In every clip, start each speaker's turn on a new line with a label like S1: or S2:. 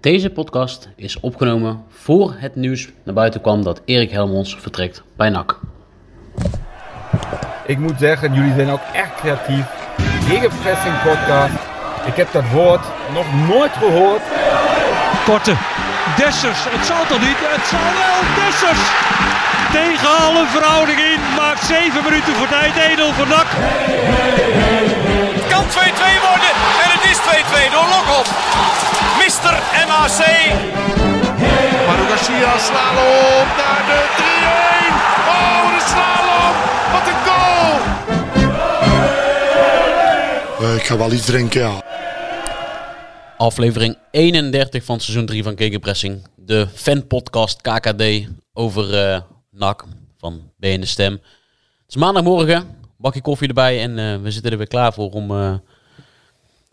S1: Deze podcast is opgenomen voor het nieuws naar buiten kwam dat Erik Helmons vertrekt bij NAC.
S2: Ik moet zeggen, jullie zijn ook echt creatief. Gegenpressing podcast. Ik heb dat woord nog nooit gehoord.
S3: Korte. Dessers. Het zal toch niet? Het zal wel. Dessers. Tegen alle verhouding in. Maakt 7 minuten voor tijd. 1-0 voor NAC.
S4: Het kan 2-2 worden en het is 2-2 door Lokop. Mister MAC. Maru Garcia, slalom naar de 3-1. Oh, de slalom. Wat een goal.
S5: Eh, ik ga wel iets drinken, ja.
S1: Aflevering 31 van seizoen 3 van Kekenpressing. De fanpodcast KKD over eh, NAC van BN De Stem. Het is maandagmorgen, bakje koffie erbij en eh, we zitten er weer klaar voor om eh, een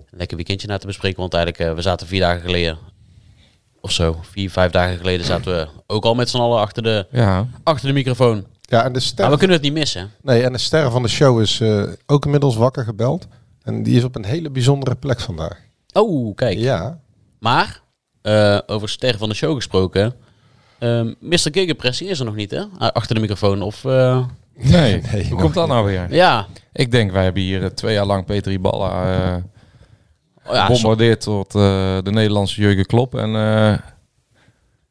S1: lekker weekendje na te bespreken. Want eigenlijk, eh, we zaten vier dagen geleden of zo, vier, vijf dagen geleden zaten we ook al met z'n allen achter de,
S6: Ja.
S1: achter de microfoon.
S6: Ja, en de
S1: Maar
S6: ster,
S1: we kunnen het niet missen.
S6: nee, en de ster van de show is eh, ook inmiddels wakker gebeld. En die is op een hele bijzondere plek vandaag.
S1: Oh, kijk.
S6: Ja.
S1: Maar, eh, over sterren van de show gesproken. ehm Mr. Gigapressie is er nog niet, hè? Ah, Achter de microfoon. Of, eh,
S7: Nee,
S6: Nee,
S7: hoe
S6: nog
S7: komt dat nou weer?
S1: ja.
S7: Ik denk, wij hebben hier eh, twee jaar lang Peter Iballa eh
S1: Oh, ja, zo-
S7: gebombardeerd tot eh, de Nederlandse Jurgen Klop. En eh,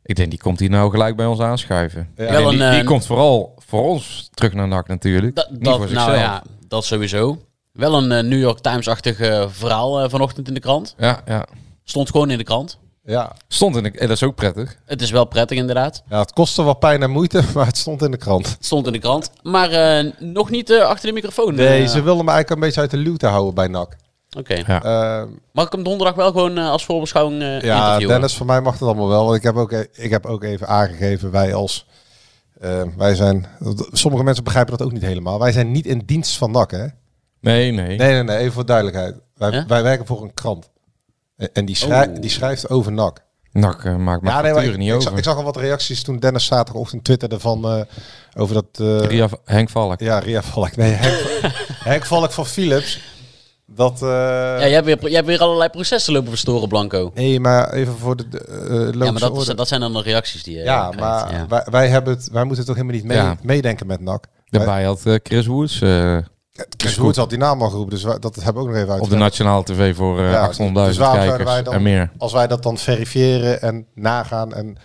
S7: ik denk, die komt hier nou gelijk bij ons aanschuiven.
S6: Ja.
S7: Ik denk,
S1: Wel
S7: die,
S1: een,
S7: die
S1: eh,
S7: komt vooral voor ons terug naar NAC natuurlijk.
S1: dat,
S7: Niet
S1: dat-
S7: voor zichzelf.
S1: nou ja, dat sowieso. Wel een eh, New York Times-achtig eh, verhaal eh, vanochtend in de krant.
S7: Ja, ja.
S1: Stond gewoon in de krant.
S6: Ja.
S7: Stond in de... En dat is ook prettig.
S1: Het is wel prettig, inderdaad.
S6: ja, het kostte wel pijn en moeite, maar het stond in de krant.
S1: Het stond in de krant. Maar eh, nog niet eh, achter de microfoon.
S6: Nee,
S1: eh.
S6: ze wilden me eigenlijk een beetje uit de luwte houden bij NAC.
S1: Oké.
S7: Ja.
S6: Eh,
S1: Mag ik hem donderdag wel gewoon eh, als voorbeschouwing eh
S6: ja,
S1: interviewen?
S6: Dennis, voor mij mag het allemaal wel. Want ik heb ook, e- ik heb ook even aangegeven, wij als... eh, wij zijn... Sommige mensen begrijpen dat ook niet helemaal. Wij zijn niet in dienst van NAC, hè?
S7: Nee, nee.
S6: Nee, nee, nee, even voor duidelijkheid. Wij,
S1: Ja?
S6: wij werken voor een krant. En en die, schrij-
S1: Oh.
S6: die schrijft over NAC.
S7: NAC eh, maakt mijn
S6: ja, nee, maar ik,
S7: facturen niet
S6: ik
S7: over.
S6: zag, ik zag al wat reacties toen Dennis zaterdagochtend twitterde van eh, over dat... eh,
S7: Ria, Henk Valk.
S6: Ja, Ria Valk. Nee, Henk, Henk Valk van Philips. Dat... eh,
S1: Ja, jij, hebt weer, jij hebt weer allerlei processen lopen verstoren, Blanco.
S6: Nee, maar even voor de eh logische
S1: Ja, maar dat,
S6: orde.
S1: dat zijn dan de reacties die je
S6: ja,
S1: krijgt.
S6: maar
S1: Ja.
S6: Wij, wij hebben het, wij moeten toch helemaal niet mee,
S7: Ja.
S6: meedenken met NAC. Wij-
S7: Daarbij had eh, Chris Woods eh,
S6: Chris Woods had die naam al geroepen, dus wij- dat hebben we ook nog even uit.
S7: op de nationale tv voor eh,
S6: Ja,
S7: 800.000
S6: dus waarom zouden
S7: kijkers
S6: wij dan-
S7: en meer.
S6: als wij dat dan verifiëren en nagaan en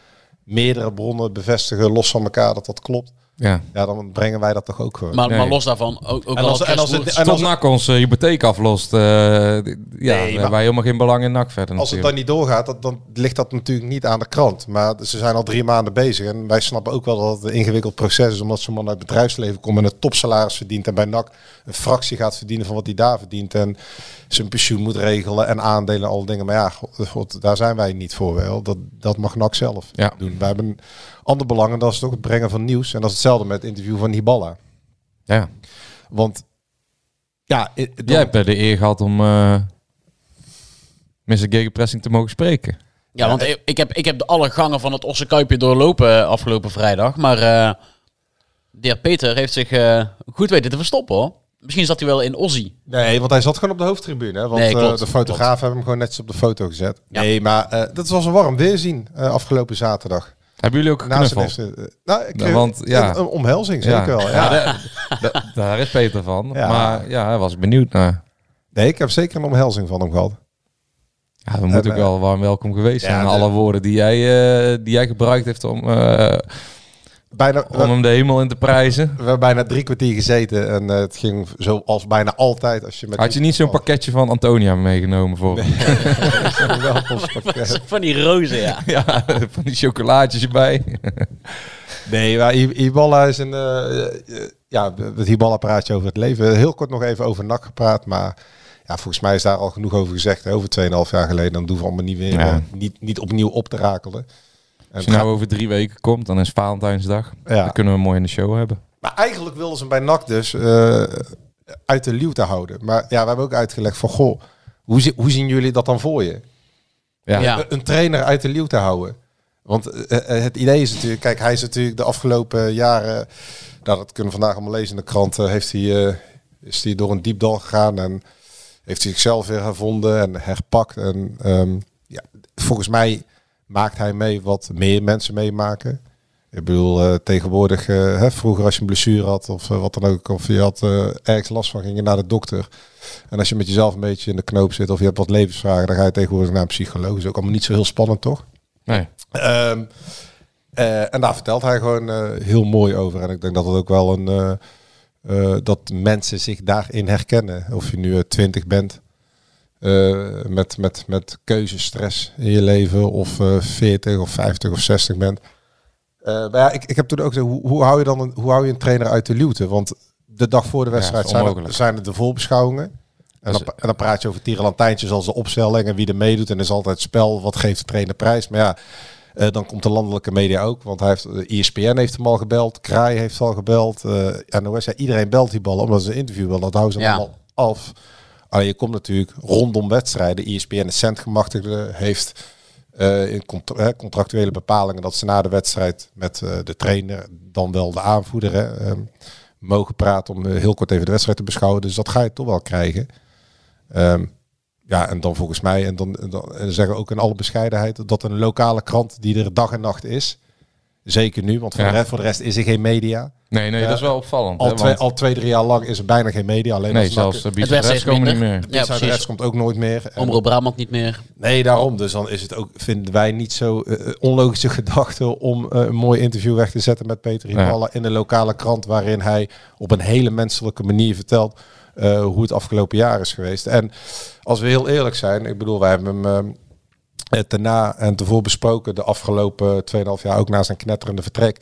S6: meerdere bronnen bevestigen los van elkaar dat dat klopt,
S7: Ja.
S6: ja, dan brengen wij dat toch ook eh, gewoon.
S1: Maar,
S7: Nee.
S1: maar los daarvan, ook, ook
S6: En
S1: wel
S6: als-
S1: op
S6: en als
S1: Chris
S6: het-
S1: Woerts.
S6: en
S7: Tot
S6: als-
S7: NAC onze hypotheek aflost, eh, d- ja,
S6: maar-
S7: dan hebben wij helemaal geen belang in NAC verder
S6: als het dan
S7: natuurlijk.
S6: niet doorgaat, dat, dan ligt dat natuurlijk niet aan de krant. Maar ze zijn al drie maanden bezig en wij snappen ook wel dat het een ingewikkeld proces is, omdat zo'n man uit het bedrijfsleven komt en een topsalaris verdient en bij NAC een fractie gaat verdienen van wat hij daar verdient en zijn pensioen moet regelen en aandelen en al die dingen. Maar ja, god, god, daar zijn wij niet voor wel. Dat, dat mag NAC zelf
S7: Ja.
S6: doen. Wij hebben een ander belang en dat is het ook het brengen van nieuws. En dat is hetzelfde met het interview van Hiballa.
S7: Ja.
S6: Want ja, i- dan-
S7: Jij hebt eh, de eer gehad om eh Mr. Gegenpressing te mogen spreken.
S1: Ja, want ik, ik heb, ik heb de alle gangen van het Osse Kuipje doorlopen eh, afgelopen vrijdag. Maar eh de heer Peter heeft zich eh, goed weten te verstoppen hoor. Misschien zat hij wel in Ozzy.
S6: Nee, want hij zat gewoon op de hoofdtribune. hè, Want
S1: Nee,
S6: eh,
S1: klopt,
S6: de fotograaf
S1: klopt.
S6: hebben hem gewoon netjes op de foto gezet.
S1: Ja.
S6: Nee, maar eh, dat was een warm weerzien eh, afgelopen zaterdag.
S7: Hebben jullie ook
S6: Na zijn
S7: geknuffeld?
S6: eerste- eh, nou, ik
S7: Nou,
S6: kreeg
S7: want, ja.
S6: een, een omhelzing, zeker wel. Ja.
S7: daar- da- daar is Peter van.
S6: Ja.
S7: Maar ja, daar was ik benieuwd naar.
S6: Nee, ik heb zeker een omhelzing van hem gehad.
S7: Ja, we moeten
S6: Eh,
S7: ook wel warm welkom geweest
S6: ja,
S7: zijn.
S6: de-
S7: alle woorden die jij, eh, die jij gebruikt heeft om, eh,
S6: Bijna, we,
S7: om hem de hemel in te prijzen.
S6: we hebben bijna drie kwartier gezeten en eh, het ging zoals bijna altijd. Als je met Oh.
S7: Had je niet zo'n pakketje van Antonia meegenomen voor hem?
S6: welkomstpakket?
S1: Van die rozen, ja.
S7: Ja, van die chocolaatjes erbij.
S6: Nee, maar I- Iballa is een... eh, eh, ja, het Iballa-praatje over het leven. Heel kort nog even over NAC gepraat, maar... Ja, volgens mij is daar al genoeg over gezegd. hè, Over 2,5 jaar geleden. Dan doen we allemaal niet weer.
S7: Ja.
S6: eh, Niet, niet opnieuw op te rakelen. En
S7: Als
S6: het
S7: je nou
S6: gaat-
S7: over drie weken komt, dan is Valentijnsdag.
S6: Ja.
S7: Dan kunnen we mooi in de show hebben.
S6: Maar eigenlijk wilden ze hem bij NAC dus eh, uit de luwte houden. Maar ja, we hebben ook uitgelegd van, goh, hoe, zi- hoe zien jullie dat dan voor je?
S7: Ja.
S1: Ja.
S6: eh, Een- Een trainer uit de luwte houden. Want eh, eh, het idee is natuurlijk, kijk, hij is natuurlijk de afgelopen jaren, nou dat kunnen we vandaag allemaal lezen in de krant, eh, heeft hij, eh, is hij door een diepdal gegaan en heeft hij zichzelf weer gevonden en herpakt. En ehm, ja, volgens mij maakt hij mee wat meer mensen meemaken. Ik bedoel, eh, tegenwoordig, eh, hè, vroeger als je een blessure had of eh, wat dan ook, of je had eh, ergens last van, ging je naar de dokter. En als je met jezelf een beetje in de knoop zit of je hebt wat levensvragen, dan ga je tegenwoordig naar een psycholoog. Is ook allemaal niet zo heel spannend, toch?
S7: Nee.
S6: Ehm, eh, en daar vertelt hij gewoon eh, heel mooi over. En ik denk dat het ook wel een. eh, eh, dat mensen zich daarin herkennen. Of je nu twintig bent. eh, met, met, met keuzestress in je leven. Of eh, veertig of vijftig of zestig bent. Eh, maar ja, ik, ik heb toen ook gezegd, hoe, hoe hou je dan een, hoe hou je een trainer uit de luwte? Want de dag voor de wedstrijd
S7: is
S6: zijn, het,
S7: onmogelijk.
S6: zijn het de volbeschouwingen. En dan, en dan praat je over tierenlantijntjes als de opstelling en wie er meedoet. En er is altijd spel, wat geeft de trainer prijs. Maar ja, eh, dan komt de landelijke media ook. Want hij heeft, eh, ESPN heeft hem al gebeld, Kraai heeft al gebeld. eh NOS, ja, iedereen belt die ballen omdat ze een interview willen. Dat houden ze
S1: Ja.
S6: allemaal af. Alleen je komt natuurlijk rondom wedstrijden. E ESPN is centgemachtigde, heeft eh, in cont- eh, contractuele bepalingen dat ze na de wedstrijd met eh, de trainer, dan wel de aanvoerder, hè, ehm, mogen praten om eh, heel kort even de wedstrijd te beschouwen. Dus dat ga je toch wel krijgen. Ehm, ja, en dan volgens mij, en dan, en dan en zeggen we ook in alle bescheidenheid, dat een lokale krant die er dag en nacht is, zeker nu, want voor,
S7: Ja.
S6: de, rest, voor de rest is er geen media.
S7: Nee, nee,
S6: Ja.
S7: dat is wel opvallend.
S6: Al
S7: hè,
S6: twee,
S7: want-
S6: al twee, drie jaar lang is er bijna geen media. Alleen
S7: nee,
S6: als
S7: zelfs eh, de bizarres
S1: steeds
S7: komen niet
S1: minder.
S7: meer.
S1: Ja,
S6: de rest
S1: precies.
S6: komt ook nooit meer. En-
S1: Omroep Brabant niet meer.
S6: Nee, daarom. Dus dan is het ook, vinden wij niet zo eh, eh, onlogische gedachte om eh, een mooi interview weg te zetten met Peter Hiballa in de lokale krant, waarin hij op een hele menselijke manier vertelt eh, hoe het afgelopen jaar is geweest. En als we heel eerlijk zijn, ik bedoel, wij hebben hem eh, het daarna en tevoren besproken de afgelopen 2,5 jaar, ook na zijn knetterende vertrek.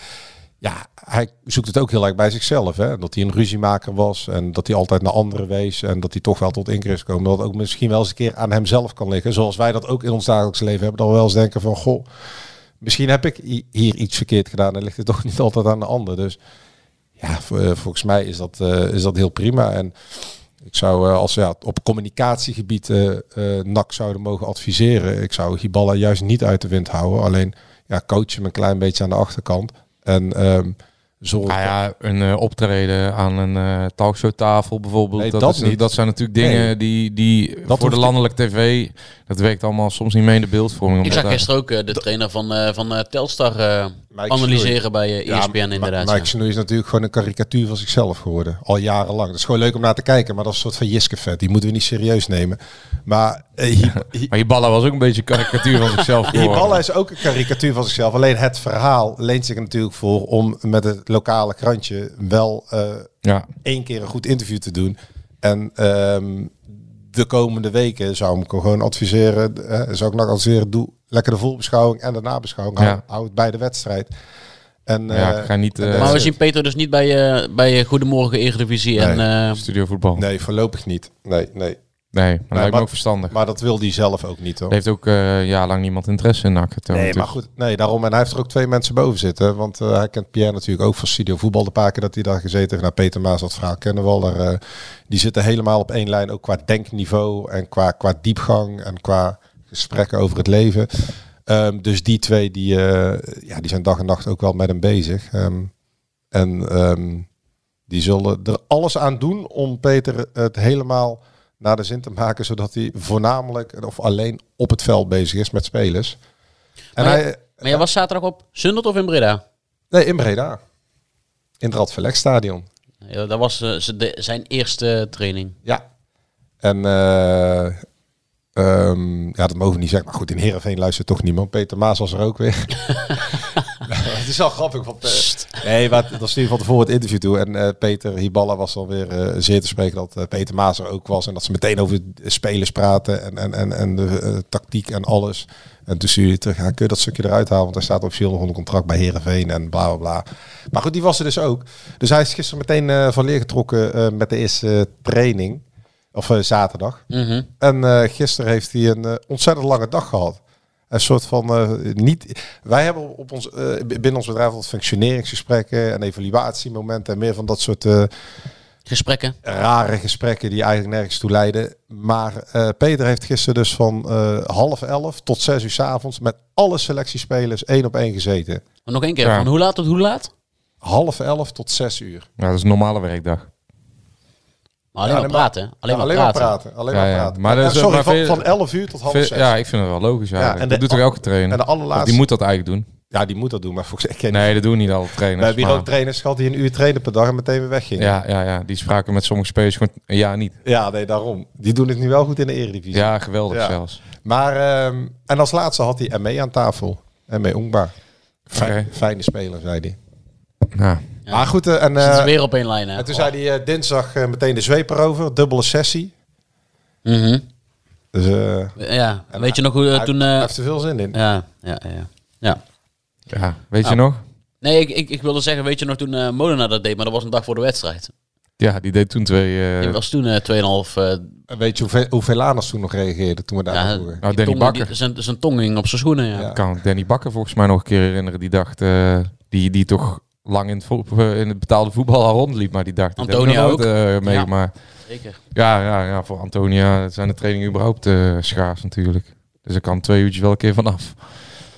S6: Ja, hij zoekt het ook heel erg bij zichzelf. Hè? Dat hij een ruziemaker was en dat hij altijd naar anderen wees en dat hij toch wel tot inkeer is gekomen. Dat het ook misschien wel eens een keer aan hemzelf kan liggen. Zoals wij dat ook in ons dagelijks leven hebben. Dan wel eens denken van, goh, misschien heb ik i- hier iets verkeerd gedaan en ligt het toch niet altijd aan de ander. Dus ja, v- eh, volgens mij is dat, eh, is dat heel prima. En ik zou eh, als ze ja, op communicatiegebied eh eh, NAC zouden mogen adviseren, ik zou Hiballa juist niet uit de wind houden. Alleen ja, coach hem een klein beetje aan de achterkant. En ehm zorg
S7: Ah ja, een eh, optreden aan een eh talkshowtafel bijvoorbeeld.
S6: Nee, dat
S7: is-
S6: niet.
S7: dat zijn natuurlijk dingen
S6: Nee.
S7: die, die voor
S6: hoeft
S7: de
S6: niet.
S7: landelijke tv, dat werkt allemaal soms niet mee in de beeldvorming.
S1: Ik
S7: omdat
S1: zag
S7: daar-
S1: gisteren ook eh, de trainer van, eh, van eh, Telstar eh, analyseren bij eh,
S6: Ja,
S1: ESPN
S6: Ma-
S1: inderdaad.
S6: Mike
S1: ja.
S6: Snoei is natuurlijk gewoon een karikatuur van zichzelf geworden. Al jarenlang. Dat is gewoon leuk om naar te kijken. Maar dat is een soort van Jiske-vet. Die moeten we niet serieus nemen. Maar eh, Hi- Hi-
S7: Maar Hiballa was ook een beetje een karikatuur van zichzelf geworden.
S6: Hiballa is ook een karikatuur van zichzelf. Alleen het verhaal leent zich er natuurlijk voor om met het lokale krantje wel eh,
S7: Ja,
S6: één keer een goed interview te doen. En ehm, de komende weken zou ik hem gewoon adviseren. eh, zou ik nog adviseren, doe lekker de volbeschouwing en de nabeschouwing. Hou,
S7: Ja.
S6: hou het bij de wedstrijd. En,
S7: ja,
S6: eh,
S7: ik ga niet eh,
S1: Maar we
S6: het.
S1: zien Peter dus niet bij, eh, bij eh, Goedemorgen Eredivisie en eh,
S7: studio voetbal. Nee,
S6: Nee, voorlopig niet. Nee, nee.
S7: maar dat lijkt
S6: maar-
S7: me ook verstandig.
S6: Maar dat wil hij zelf ook niet hoor.
S7: Er heeft ook eh jarenlang niemand interesse in NAC. getoond
S6: Nee, maar
S7: natuurlijk.
S1: Dus-
S6: goed. Nee, daarom. En hij heeft er ook twee mensen boven zitten. Want eh, hij kent Pierre natuurlijk ook van Studio Voetbal. De paar keer dat hij daar gezeten heeft. Nou, Peter Maas, dat verhaal kennen we al. Daar, eh, die zitten helemaal op één lijn. Ook qua denkniveau en qua, qua diepgang en qua gesprekken over het leven. Ehm, dus die twee, die, eh, ja, die zijn dag en nacht ook wel met hem bezig. Ehm, en ehm, die zullen er alles aan doen om Peter het helemaal naar de zin te maken. Zodat hij voornamelijk of alleen op het veld bezig is met spelers. En
S1: Maar ja-
S6: hij,
S1: Maar jij was zaterdag op Zundert of in Breda?
S6: Nee, in Breda. In het Radverlegstadion.
S1: Ja, dat was eh, ze- de- zijn eerste training.
S6: Ja. En eh, ehm, ja, dat mogen we niet zeggen. Maar goed, in Heerenveen luistert toch niemand. Peter Maas was er ook weer. Nou, het is wel grappig. Want, eh, nee, maar dat stuurde van tevoren het interview toe. En eh, Peter Hiballa was dan weer eh, zeer te spreken dat eh, Peter Maas er ook was. En dat ze meteen over de spelers praten en, en, en, en de eh, tactiek en alles. En toen stuurde hij terug, ja, kun je dat stukje eruit halen? Want hij staat officieel nog onder contract bij Heerenveen en bla bla bla. Maar goed, die was er dus ook. Dus hij is gisteren meteen eh, van leer getrokken eh, met de eerste eh, training. Of eh, zaterdag.
S1: Mhm.
S6: En eh, gisteren heeft hij een eh, ontzettend lange dag gehad. Een soort van eh, niet. Wij hebben op ons, eh, b- binnen ons bedrijf wat functioneringsgesprekken en evaluatiemomenten en meer van dat soort eh,
S1: Gesprekken.
S6: rare gesprekken die eigenlijk nergens toe leiden. Maar eh, Peter heeft gisteren dus van eh, half elf tot zes uur s avonds met alle selectiespelers één op één gezeten.
S1: Maar nog één keer,
S7: Ja.
S1: van hoe laat tot hoe laat?
S6: Half elf tot zes uur.
S7: Ja, dat is een normale werkdag.
S1: Maar alleen
S6: Ja,
S1: maar
S6: alleen maar-
S1: praten. Alleen,
S6: Ja,
S1: maar, praten.
S6: Alleen
S7: Ja,
S6: maar
S7: ja.
S6: praten.
S7: Maar dat
S6: Eh,
S7: is-
S6: sorry,
S7: maar
S6: van,
S7: veel-
S6: van 11 uur tot half
S7: Ve-
S6: zes.
S7: ja, ik vind het wel logisch eigenlijk.
S6: en de-
S7: dat doet toch elke trainer?
S6: en de allerlaatste-
S7: Of die moet dat eigenlijk doen.
S6: Ja, die moet dat doen, maar volgens mij ken
S7: Nee, dat doen niet alle trainers.
S6: We hebben hier
S7: maar-
S6: ook trainers gehad die een uur trainen per dag en meteen weer weggingen. Ja.
S7: ja, ja, ja, die spraken met sommige spelers gewoon een jaar niet.
S6: nee, daarom. Die doen het nu wel goed in de eredivisie.
S7: Ja, geweldig
S6: Ja.
S7: zelfs.
S6: Maar, ehm, en als laatste had hij ME aan tafel. ME Ongba. Fijn,
S7: Oké.
S6: Fijne speler, zei hij.
S7: Ja.
S6: Maar goed, eh, en,
S1: Zitten
S6: eh,
S1: ze weer op één lijn. Hè?
S6: en toen zei hij eh, dinsdag eh, meteen de zweep erover. Dubbele sessie.
S1: Mhm.
S6: Dus eh,
S1: Ja, weet je nog hoe eh,
S6: hij,
S1: toen...
S6: hij
S1: eh,
S6: heeft er veel zin in.
S1: ja, ja, ja. ja.
S7: Ja, weet je
S6: Nou.
S7: nog?
S1: Nee, ik, ik, ik wilde zeggen, weet je nog toen eh Molenaar dat deed, maar dat was een dag voor de wedstrijd.
S7: Ja, die deed toen twee... eh,
S1: Die was toen eh 2,5... eh
S6: En Weet je hoeveel, hoeveel Aners toen nog reageerde toen we daar
S1: ja,
S6: vroegen?
S7: Nou, Danny
S1: die tong-
S7: Bakker.
S1: die- zijn, zijn tong ging op zijn schoenen, ja.
S6: Ja.
S7: kan Danny Bakker volgens mij nog een keer herinneren. Die dacht, eh, die, die toch lang in het, vo- eh, in het betaalde voetbal al rondliep. Maar die dacht, dat heb ik
S1: Antonia
S7: nog nooit, eh, meegemaakt.
S1: Zeker.
S7: Ja. Ja, ja, voor Antonia zijn de trainingen überhaupt eh, schaars natuurlijk. Dus ik kan twee uurtjes wel een keer vanaf.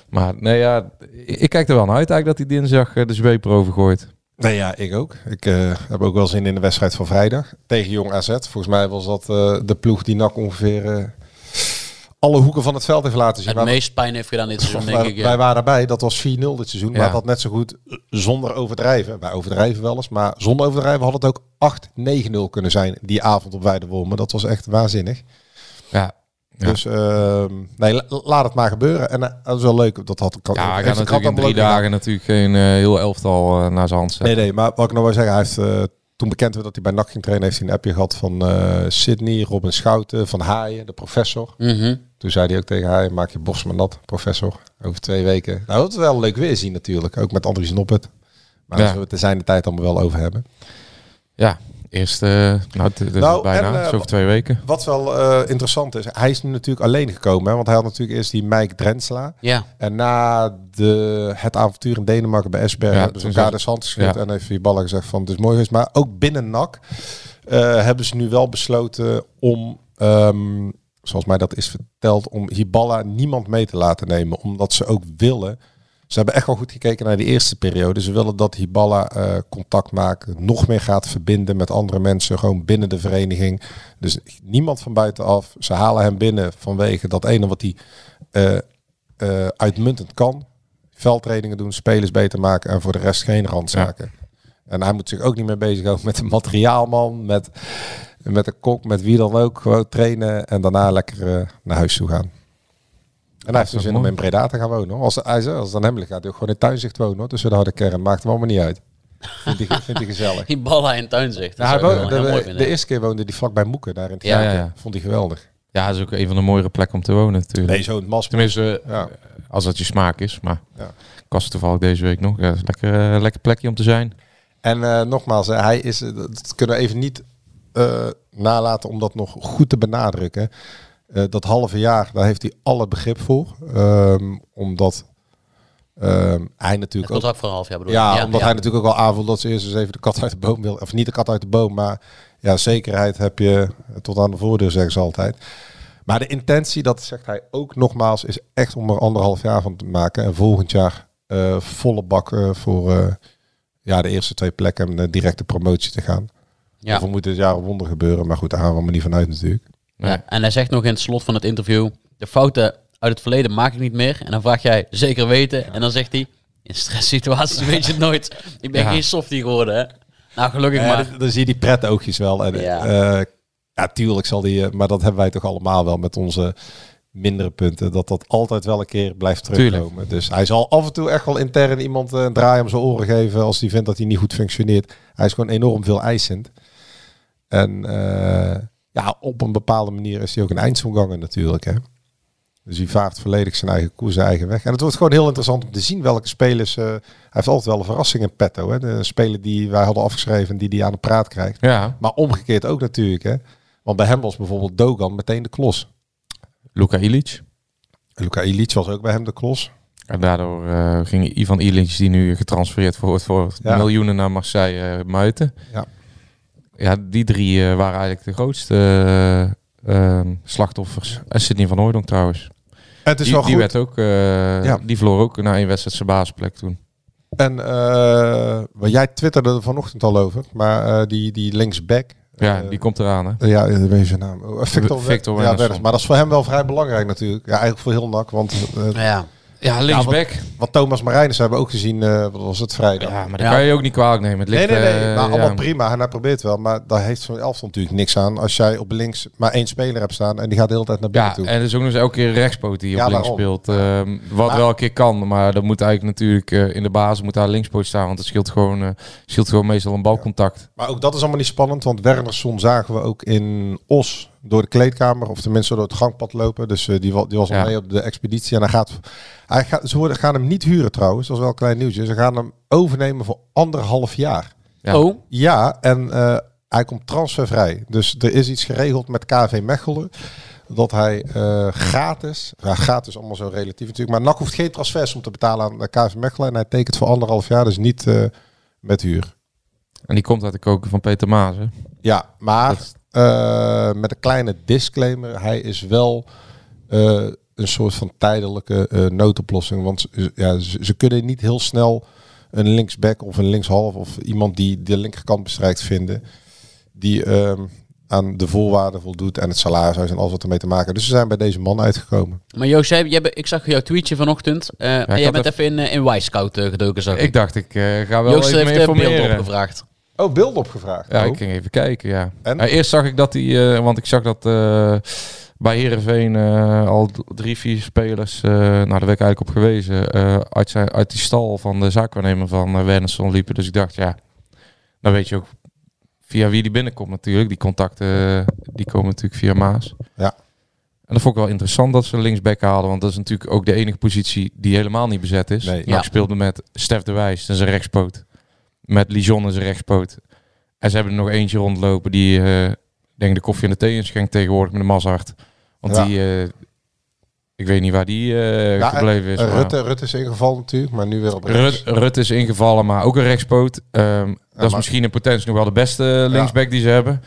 S7: Maar nee, ja, ik, ik kijk er wel naar uit eigenlijk dat hij dinsdag eh, de zweep erover gooit.
S6: Nee, ja, ik ook. Ik eh, heb ook wel zin in de wedstrijd van vrijdag tegen Jong AZ. Volgens mij was dat eh, de ploeg die NAC ongeveer eh, alle hoeken van het veld heeft laten zien.
S1: Het
S6: Waar-
S1: meest pijn heeft gedaan dit seizoen, denk
S6: wij,
S1: ik. ja.
S6: wij waren erbij, dat was 4-0 dit seizoen.
S7: Ja.
S6: Maar dat net zo goed eh, zonder overdrijven. Wij overdrijven wel eens, maar zonder overdrijven had het ook 8-9-0 kunnen zijn die avond op Weidewormen. Dat was echt waanzinnig.
S7: Ja, Ja.
S6: Dus ehm, nee, la- laat het maar gebeuren. En eh, dat is wel leuk. Dat had kan,
S7: ja hij
S6: heeft
S7: gaat
S6: de
S7: natuurlijk in
S6: krant
S7: drie
S6: allemaal ook
S7: dagen natuurlijk geen eh, heel elftal eh, naar zijn hand zetten.
S6: Nee, nee, maar wat ik nog wil zeggen, hij heeft, eh, toen bekend werd dat hij bij NAC ging trainen, heeft hij een appje gehad van eh, Sydney, Robin Schouten, Van Haaien, de professor.
S1: Mhm.
S6: Toen zei hij ook tegen Haaien, maak je borst maar nat, professor, over twee weken. Nou, dat is wel leuk weer zien natuurlijk, ook met Andries Noppet. Maar
S7: Ja.
S6: daar zullen we het er zijn de tijd allemaal wel over hebben.
S7: Ja, eerst, eh, nou, het- het is
S6: Nou,
S7: bijna,
S6: en, eh,
S7: het is over twee weken.
S6: Wat wel eh, interessant is, hij is nu natuurlijk alleen gekomen, hè, want hij had natuurlijk eerst die Mike Drensla.
S1: Ja,
S6: En na de, het avontuur in Denemarken bij Esberg
S7: Ja,
S6: hebben ze
S7: toen
S6: elkaar
S7: zei-
S6: de hand geschud
S7: ja.
S6: en heeft die ballen gezegd van het is mooi geweest. Maar ook binnen NAC eh, hebben ze nu wel besloten om, ehm, zoals mij dat is verteld, om Hiballa niemand mee te laten nemen. Omdat ze ook willen, ze hebben echt wel goed gekeken naar die eerste periode. Ze willen dat Hiballa eh, contact maakt, nog meer gaat verbinden met andere mensen, gewoon binnen de vereniging. Dus niemand van buitenaf. Ze halen hem binnen vanwege dat ene wat hij eh, eh, uitmuntend kan. Veldtrainingen doen, spelers beter maken en voor de rest geen randzaken. En hij moet zich ook niet meer bezighouden met de materiaalman, met, met de kok, met wie dan ook. Gewoon trainen en daarna lekker eh, naar huis toe gaan. En hij
S7: dat
S6: heeft dus zin om
S7: mooi.
S6: in Breda te gaan wonen. hoor. Als, hij, zei, als het aan hem ligt, gaat hij ook gewoon in tuinzicht wonen. Hoor. Dus Tussen de harde kern. Maakt hem allemaal niet uit. Vindt hij, vindt hij gezellig.
S1: die ballen in tuin zegt.
S6: Ja,
S1: Dat
S6: hij
S1: zou ik
S6: woonde-
S1: wel heel mooi
S6: de,
S1: vinden.
S6: de eerste keer woonde hij vlakbij Moeken, daar in het
S1: Ja,
S6: Gaatje.
S7: ja, ja.
S6: Vond hij geweldig.
S7: Ja, dat is ook een van de mooiere plekken om te wonen natuurlijk.
S6: Nee, zo'n mas.
S7: Tenminste, eh,
S6: Ja.
S7: als dat je smaak is. Maar
S6: Ja.
S7: ik was er toevallig deze week nog. Ja, dat is lekker, eh, lekker plekje om te zijn.
S6: En eh, nogmaals, hè, hij is, eh, dat kunnen we even niet eh, nalaten om dat nog goed te benadrukken. Eh, dat halve jaar, daar heeft hij alle begrip voor. Ehm, omdat ehm, hij
S1: Het
S6: natuurlijk ook...
S1: contract voor een half jaar bedoel ik.
S6: Ja, omdat hij natuurlijk ook al aanvoelt dat ze eerst eens even de kat uit de boom wil. Of niet de kat uit de boom, maar ja, zekerheid heb je tot aan de voordeur, zeggen ze altijd. Maar de intentie, dat zegt hij ook nogmaals, is echt om er anderhalf jaar van te maken. En volgend jaar eh, volle bak eh, voor eh, ja, de eerste twee plekken en eh, directe promotie te gaan.
S1: Ja.
S6: Of er moet dit jaar een wonder gebeuren, maar goed, daar gaan we allemaal niet vanuit natuurlijk.
S7: Nee.
S1: Ja, en hij zegt nog in het slot van het interview: de fouten uit het verleden maak ik niet meer. En dan vraag jij zeker weten. En dan zegt hij: in stresssituaties weet je het nooit. Ik ben
S7: Ja.
S1: geen softie geworden. Hè? Nou, gelukkig
S6: Ja,
S1: maar.
S6: Eh, dan- dan zie je die pret oogjes wel. En,
S1: Ja.
S6: ja. Eh, ja, tuurlijk zal die, eh, maar dat hebben wij toch allemaal wel met onze mindere punten. Dat dat altijd wel een keer blijft
S7: Tuurlijk.
S6: terugkomen. Dus hij zal af en toe echt wel intern iemand eh, een draai om zijn oren geven als die vindt dat hij niet goed functioneert. Hij is gewoon enorm veel eisend. En eh, ja, op een bepaalde manier is hij ook een eindselganger natuurlijk. Hè? Dus hij vaart volledig zijn eigen koers, zijn eigen weg. En het wordt gewoon heel interessant om te zien welke spelers... eh, hij heeft altijd wel een verrassing in petto. Hè? De speler die wij hadden afgeschreven en die hij aan de praat krijgt.
S7: Ja,
S6: Maar omgekeerd ook natuurlijk. Hè? Want bij hem was bijvoorbeeld Dogan meteen de klos.
S7: Luka Ilic.
S6: Luca Ilic was ook bij hem de klos.
S7: En daardoor eh, ging Ivan Illich, die nu getransfereerd wordt voor
S6: Ja.
S7: miljoenen naar Marseille, eh, muiten.
S6: Ja.
S7: ja, die drie eh, waren eigenlijk de grootste eh, ehm, slachtoffers. En Sidney van Hooydonk trouwens.
S6: Het is
S7: die,
S6: wel
S7: die
S6: goed.
S7: werd ook, eh,
S6: Ja.
S7: die verloor ook na één wedstrijd zijn basisplek toen.
S6: En eh, wat jij twitterde er vanochtend al over, maar eh, die, die linksback.
S7: Ja,
S6: eh,
S7: die komt eraan hè.
S6: Ja, ik weet zijn naam. Oh, Victor,
S7: Victor
S6: ja,
S7: Wernersson.
S6: Werners. Maar dat is voor hem wel vrij belangrijk natuurlijk. Ja, eigenlijk voor heel nak. Want eh,
S1: Ja, ja
S7: Linksback.
S1: linksback.
S6: wat Thomas Marijnis hebben we ook gezien, eh, wat was het vrijdag.
S7: Ja, maar dat
S1: Ja.
S7: kan je ook niet kwalijk nemen. Het
S6: nee,
S7: ligt,
S6: nee, nee.
S7: eh,
S6: maar
S7: ja.
S6: allemaal prima. En hij probeert wel. Maar daar heeft zo'n elftal natuurlijk niks aan. Als jij op links maar één speler hebt staan en die gaat de hele tijd naar binnen
S7: Ja,
S6: toe.
S7: en er is ook nog eens elke keer een rechtspoot die
S6: Ja,
S7: op links
S6: daarom.
S7: speelt. Ehm, wat
S6: Maar-
S7: wel een keer kan, maar dat moet eigenlijk natuurlijk eh, in de basis moet daar linkspoot staan. Want het scheelt gewoon, eh, scheelt gewoon meestal een balcontact.
S6: Maar ook dat is allemaal niet spannend, want Wernersson zagen we ook in Os door de kleedkamer, of tenminste door het gangpad lopen. Dus eh, die, wa- die was al
S7: Ja.
S6: mee op de expeditie. En hij gaat, hij gaat, ze worden, gaan hem niet huren trouwens, dat is wel een klein nieuwtje. Ze gaan hem overnemen voor anderhalf jaar.
S7: Ja.
S1: Oh,
S6: Ja, en eh, hij komt transfervrij. Dus er is iets geregeld met KV Mechelen. Dat hij eh, gratis, ja, gratis allemaal zo relatief natuurlijk, maar NAC hoeft geen transfers om te betalen aan eh, KV Mechelen. En hij tekent voor anderhalf jaar, dus niet eh, met huur.
S7: En die komt uit de koken van Peter Maas. hè.
S6: Ja, maar
S7: Dat-
S6: eh, met een kleine disclaimer. Hij is wel eh, een soort van tijdelijke eh, noodoplossing. Want ze- ja, ze, ze kunnen niet heel snel een linksback of een linkshalf of iemand die de linkerkant bestrijkt vinden. Die ehm, aan de voorwaarden voldoet en het salarishuis en alles wat ermee te maken. heeft. Dus ze zijn bij deze man uitgekomen.
S1: maar Joost, jij, jij, bent- ik zag jouw tweetje vanochtend. eh, en jij
S7: had
S1: bent even in, eh, in Wisecout eh, gedoken, zag ik.
S7: Ik dacht, ik eh, ga wel
S1: Joost
S7: even
S1: heeft
S7: me
S1: eh, beelden
S7: informeren.
S1: opgevraagd.
S6: Oh, beeld opgevraagd.
S7: Ja,
S6: Oh.
S7: ik ging even kijken, ja.
S6: En?
S7: Nou, eerst zag ik dat hij, eh, want ik zag dat eh, bij Herenveen al d- drie, vier spelers, eh nou daar werd ik eigenlijk op gewezen, eh, uit, zijn, uit die stal van de zaakwaarnemer van eh Wernersson liepen. Dus ik dacht, ja, dan weet je ook via wie die binnenkomt natuurlijk. Die contacten, eh, die komen natuurlijk via Maas.
S6: Ja.
S7: En dat vond ik wel interessant dat ze een linksback halen, want dat is natuurlijk ook de enige positie die helemaal niet bezet is.
S6: Nee.
S7: Maar
S1: Ja.
S7: ik speelde met Stef de Wijs, dat is een rechtspoot. Met Lijon is een rechtspoot. En ze hebben er nog eentje rondlopen die, eh, ik denk de koffie en de thee inschenkt tegenwoordig met de Mazart. Want
S6: Ja.
S7: die, eh, ik weet niet waar die eh,
S6: Ja, en,
S7: gebleven is.
S6: eh,
S7: maar-
S6: Rutte, Rutte is ingevallen natuurlijk, maar nu weer op
S7: Rut, Rut is ingevallen, maar ook een rechtspoot. Ehm, dat is
S6: maar-
S7: misschien in potentie nog wel de beste linksback die ze hebben.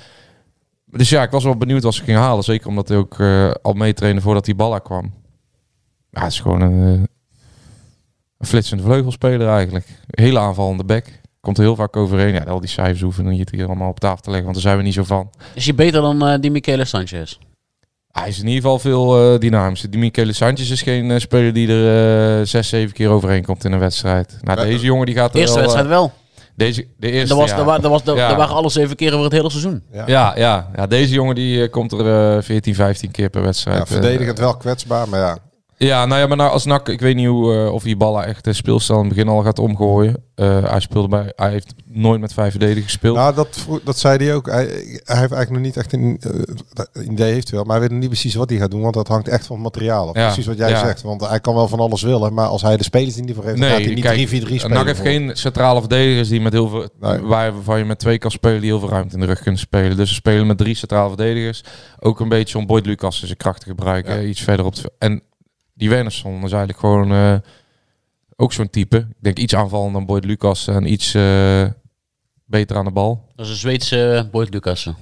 S7: Dus ja, ik was wel benieuwd wat ze gingen halen. Zeker omdat hij ook eh, al meetrainde voordat die Balla kwam. Ja, het is gewoon een, eh, een flitsende vleugelspeler eigenlijk. Hele aanvallende back. Komt er heel vaak overheen. Ja, al die cijfers hoeven we niet hier allemaal op tafel te leggen, want daar zijn we niet zo van.
S1: Is hij beter dan eh, die Michele Sanchez?
S7: Hij is in ieder geval veel eh, dynamischer. Die Michele Sanchez is geen eh, speler die er eh, zes, zeven keer overheen komt in een wedstrijd. Nou,
S6: Ja,
S7: deze jongen die gaat er
S1: eerste
S7: wel, eh,
S1: wedstrijd wel.
S7: Deze, de eerste,
S1: Er, was,
S7: ja.
S1: er, wa- er, was, er,
S7: Ja.
S1: er waren alles zeven keer over het hele seizoen.
S7: Ja, ja, ja, deze jongen die eh, komt er eh, 14, 15 keer per wedstrijd.
S6: Ja, verdedigend wel kwetsbaar, maar ja.
S7: Eh, ja, nou ja, maar nou, als NAC, ik weet niet hoe, eh, of hij ballen echt de speelstijl in het begin al gaat omgooien. Eh, hij, speelde bij, hij heeft nooit met vijf verdedigers gespeeld.
S6: Nou, dat, vro- dat zei hij ook. Hij, hij heeft eigenlijk nog niet echt een eh, idee heeft hij wel, maar hij weet nog niet precies wat hij gaat doen, want dat hangt echt van het materiaal af.
S7: Ja,
S6: Precies wat jij
S7: ja.
S6: zegt, want hij kan wel van alles willen, maar als hij de spelers niet voor heeft, dan gaat hij niet 3-4-3 spelen.
S7: NAC heeft
S6: bijvoorbeeld.
S7: geen centrale verdedigers die met heel veel,
S6: Nee.
S7: waarvan je met twee kan spelen die heel veel ruimte in de rug kunnen spelen. Dus ze spelen met drie centrale verdedigers. Ook een beetje om Boyd Lucas zijn kracht te gebruiken, eh, iets verder op het veld. En die Wernersson is eigenlijk gewoon eh, ook zo'n type. Ik denk iets aanvallender dan Boyd Lucas en iets eh, beter aan de bal.
S1: Dat is een Zweedse eh, Boyd Lucassen.